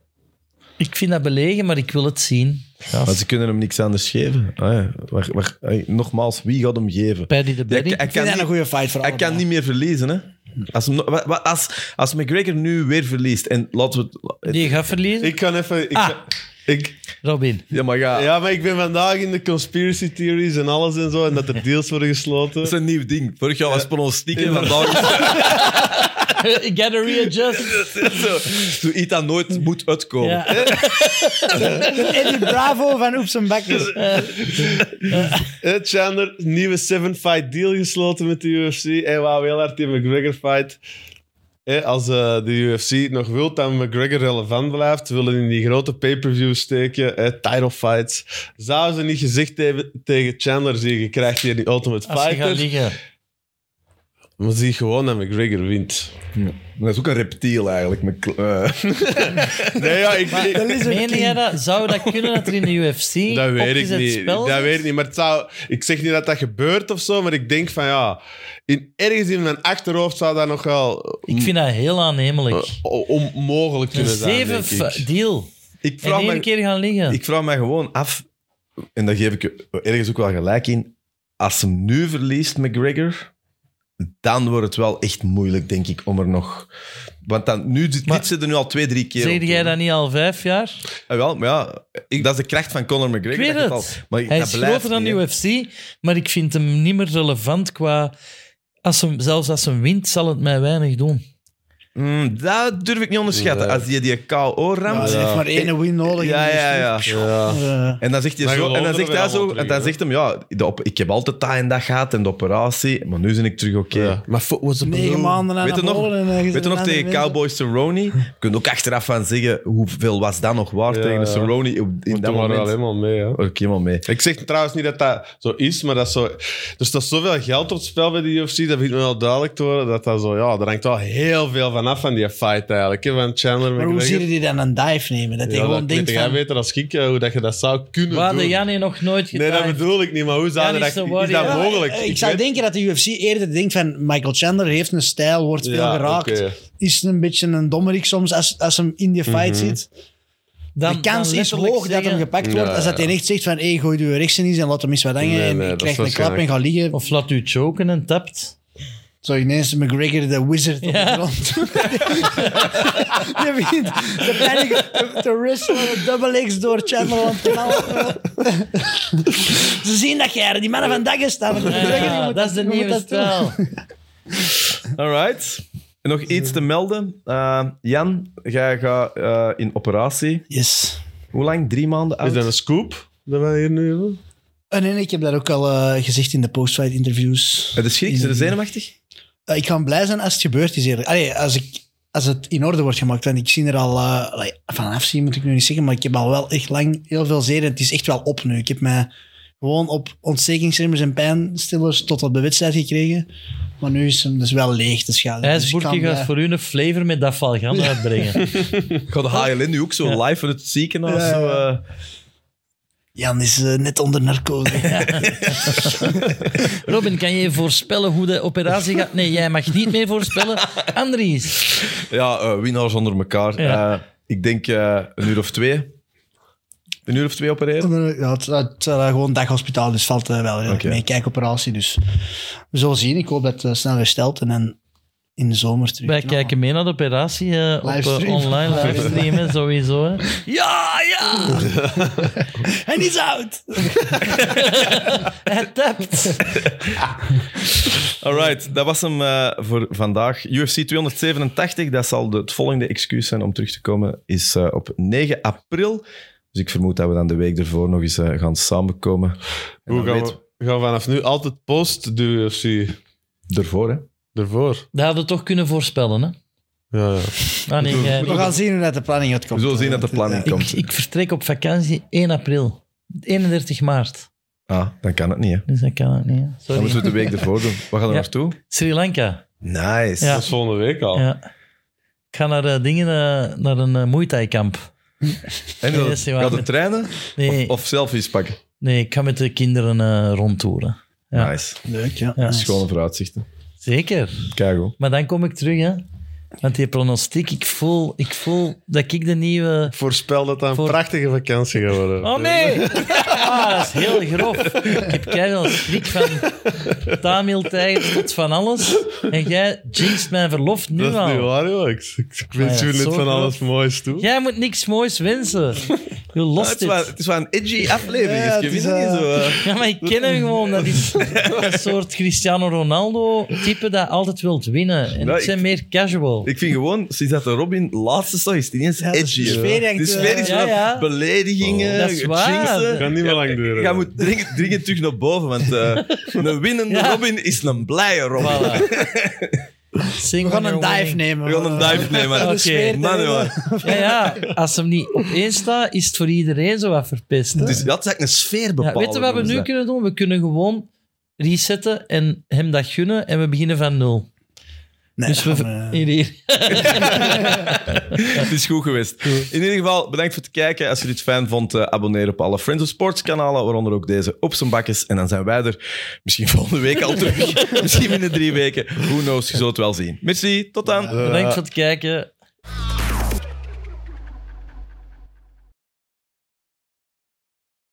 Ik vind dat belegen, maar ik wil het zien. Ja,
Maar ze kunnen hem niks anders geven. Ah, ja. Waar- waar- hey, nogmaals, wie gaat hem geven?
Paddy de Baddy.
Ja, hij
ik vind
kan,
dat een
niet,
goede fight voor
hij kan niet meer verliezen. Hè? Als, hem no- wa- wa- als, als McGregor nu weer verliest, en laten we het...
Die gaat verliezen.
ik kan even... Ik,
Ah.
ga- ik,
Robin.
Ja, maar ga...
ja, maar ik ben vandaag in de conspiracy theories en alles en zo, en dat er deals worden gesloten.
Dat is een nieuw ding. Vorig jaar was pronostiek en vandaag is
Gotta readjust.
het zo. Zo iets dat nooit moet uitkomen.
Ja.
Eddie Bravo van Oeps en Bakkers.
Eh, Chandler, nieuwe seven-fight deal gesloten met de UFC. Hey, wauw, heel hard die McGregor-fight. Eh, als eh, de UFC nog wil dat McGregor relevant blijft, willen in die grote pay-per-views steken, eh, title fights. Zouden ze niet gezegd hebben tegen Chandler, zie je, je krijgt hier die Ultimate
Als je gaat
Fighter.
liggen.
Maar zie je gewoon dat McGregor wint.
Dat is ook een reptiel eigenlijk. Met, kl- eh.
Nee, ja, ik, ik-
Dat is
Meen jij dat? Zou dat kunnen dat er in de UFC
dat weet ik
opgezet
niet.
spel dus-
Dat
zit?
weet ik niet. Maar het zou, ik zeg niet dat dat gebeurt of zo, maar ik denk van ja, in, ergens in mijn achterhoofd zou dat nog wel eh,
Ik vind dat heel aannemelijk.
O- onmogelijk
Een
Oh, kunnen zijn,
zeven
denk ik.
fa- deal.
ik
En
vraag
één
me
keer gaan liggen.
Ik vraag me gewoon af, en daar geef ik je ergens ook wel gelijk in, als hem nu verliest, McGregor, dan wordt het wel echt moeilijk, denk ik, om er nog... Want dan, nu, dit,
Maar-
dit zitten nu al twee, drie keer op
Zeg
te
jij
doen.
dat niet al vijf jaar?
Ah, wel, maar ja, ik- dat is de kracht van Conor McGregor.
Ik weet
dat je
het.
al, maar
Hij
dat
is
blijft
groter dan
niet,
de
hè.
UFC, maar ik vind hem niet meer relevant qua... Als hem, zelfs als hem wint, zal het mij weinig doen.
Mm, dat durf ik niet onderschatten.
Nee.
Als je die KO
Ja,
ramt...
Ze heeft maar één win nodig.
Ja,
en
ja, ja.
dus-
Ja.
Eh,
En dan zegt hij
Dan
zo, en
geloven
dan
we
zegt hij
weer allemaal
zo, en
terug,
dan
hè.
zegt hem, ja, de op, ik heb altijd dat en dat gehad en de operatie, maar nu ben ik terug oké.
Ja. Maar fo- was het
Negen maanden aan
Weet je nog- Weet
Weet
je nog tegen Cowboys Cerrone? Je kunt ook achteraf van zeggen, hoeveel was dat nog waard
Ja,
tegen de
ja.
Cerrone op- in
Moet
dat
er maar
moment?
alleen maar mee, hè.
Daar was ik helemaal mee.
Ik zeg trouwens niet dat dat zo is, maar dat is zo... Er staat zoveel geld op het spel bij de UFC, dat begint me wel duidelijk te worden, dat dat zo... Ja, er hangt wel heel veel van af van die fight eigenlijk, hè, van Chandler
Maar hoe zie je die
McGregor.
dan een dive nemen? Dat hij
Ja,
gewoon
dat weet
denkt
jij
van...
beter als ik, hè, hoe dat je dat zou kunnen
Waar de
doen.
Janne nog nooit gedaan
nee, dat bedoel ik niet, maar hoe zou
Jan
je
is
dat...
de
Is
warrior.
dat
Ja,
mogelijk?
Eh, Ik zou
weet-
denken dat de UFC eerder denkt van Michael Chandler heeft een stijl, wordt veel
Ja,
geraakt.
oké.
Is een beetje een dommerik soms als, als hem in die fight zit.
dan,
de kans
dan
is
letterlijk
hoog dat hem
zeggen-
gepakt wordt.
Ja,
Als dat hij
ja.
echt zegt van, hey, gooi je rechts in en laat hem eens wat hangen.
Nee, nee,
en ik
dat
krijg
is
een klap en ga liggen. Of
Of laat u choken en tapt.
zo ineens McGregor, de wizard op de
Ja.
grond. je begint de panic te wrestelen, met double X door Channel aan het knallen. Ze zien dat jij die mannen van Dagger staan.
Ja, Ah, dat is de nieuwe stijl.
Alright. En nog iets te melden. Eh, Jan, jij gaat eh, in operatie.
Yes.
Hoe lang? Drie maanden
Is
oud?
dat een scoop dat wij hier nu hebben?
En nee, nee, ik heb dat ook al eh, gezegd in de postfight interviews.
Het is schrik, is er zenuwachtig?
Eh, ik ga blij zijn als het gebeurd is, eerlijk. Allee, als, ik, als het in orde wordt gemaakt. Want ik zie er al... eh, allee, van afzien moet ik nu niet zeggen, maar ik heb al wel echt lang heel veel zeer. En het is echt wel op nu. Ik heb mij gewoon op ontstekingsremmers en pijnstillers tot op de wedstrijd gekregen. Maar nu is hem dus wel leeg, de schade. Dus ik
IJsboertje
kan
gaat
blij-
voor u een flavor met dat valgan uitbrengen.
Gaat de HLN nu ook zo live van het ziekenhuis?
Ja.
zo, eh,
Jan is eh, net onder narcose.
Robin, kan je voorspellen hoe de operatie gaat? Nee, jij mag niet meer voorspellen. Andries.
Ja, eh, winnaars onder elkaar.
Ja.
Eh, ik denk eh, een uur of twee. Een uur of twee opereren.
ja, het, het, eh, gewoon daghospitaal, dus valt eh, wel redelijk
Oké.
mee. Kijkoperatie, dus we zullen zien. Ik hoop dat het eh, snel herstelt en dan in de zomer terug.
Wij
knallen.
kijken mee naar de operatie eh, op, eh,
Livestream.
online. Livestream, hè, sowieso. Hè.
Ja, ja! en is oud!
Hij tapt.
Alright, dat was hem eh, voor vandaag. UFC 287, dat zal de, het volgende excuus zijn om terug te komen, is eh, op 9 april. Dus ik vermoed dat we dan de week ervoor nog eens eh, gaan samenkomen. En
Hoe
dan
gaan
weten
we, gaan we vanaf nu altijd post de UFC
we Ervoor, hè?
ervoor?
Dat hadden we toch kunnen voorspellen, hè?
Ja, ja.
Ah, nee, jij
We
niet.
gaan zien hoe dat de planning gaat
We
komen.
zullen zien dat de planning
Ja.
komt.
Ik, ik vertrek op vakantie 1 april. 31 maart.
Ah, dan kan het niet, hè?
Dus dat kan ik niet. hè.
Dan moeten
Sorry.
we het de week ervoor doen. Waar gaan we
Ja.
naartoe?
Sri Lanka.
Nice.
Ja.
Dat is volgende week al.
Ja. Ik ga naar eh, dingen, eh, naar een eh, Muay Thai kamp.
En
Nee,
dan
dat is niet waar.
gaat het trainen
Nee,
of, of selfies pakken?
nee, ik ga met de kinderen eh, rondtoeren. Ja.
Nice.
Leuk, ja.
Ja.
Schone vooruitzichten.
Zeker.
Kijk
Maar dan kom ik terug, hè. Want die pronostiek, ik voel, ik voel dat ik de nieuwe...
Ik voorspel dat dat een
Voor-
prachtige vakantie gaat worden.
Oh nee! Ah, dat is heel grof. Ik heb keihard schrik van Tamil tijgers tot van alles. En jij jinxt mijn verlof nu
Dat is niet
al.
waar, joh. Ik, ik
Ah,
wens
ja,
jullie
zo
net van
groot.
alles moois toe.
Jij moet niks moois wensen. Je lost
het, is wel,
het.
het is wel een edgy aflevering.
Ja,
is
het
je
is,
weet het
eh,
niet zo, eh.
Ja, maar ik ken hem gewoon. Dat is een soort Cristiano Ronaldo-type dat altijd wilt winnen. En
Nou,
ik ben
ik-
meer casual.
Ik vind gewoon, sinds dat de Robin laatste zag, is het ineens
Ja, de
edgy.
sfeer
hè.
hangt,
de sfeer is
eh,
wel
ja, ja.
Oh.
beledigingen,
Dat is waar.
jinxen.
Kan niet meer lang duren.
Jij moet dringend, dringend terug naar boven, want eh, een winnende
Ja.
Robin is een blije Robin.
Voilà.
We gaan een dive nemen.
We gaan een dive nemen.
Oké.
Man, jongen.
Ja, ja, als hem niet opeens staat, is het voor iedereen zo wat verpest. hè.
Dus dat is eigenlijk een sfeer
Ja,
bepalen.
weet je wat we
noemen ze
nu
dat.
kunnen doen? We kunnen gewoon resetten en hem dat gunnen en we beginnen van nul. Dus we...
eh,
Hier, hier.
Eh, Het is goed geweest. In ieder geval, bedankt voor het kijken. Als je dit fijn vond, eh, abonneer op alle Friends of Sports kanalen, waaronder ook deze op zijn bakkes. En dan zijn wij er misschien volgende week al terug. misschien binnen drie weken. Who knows, je zult het wel zien. Merci, tot dan.
Bedankt voor het kijken.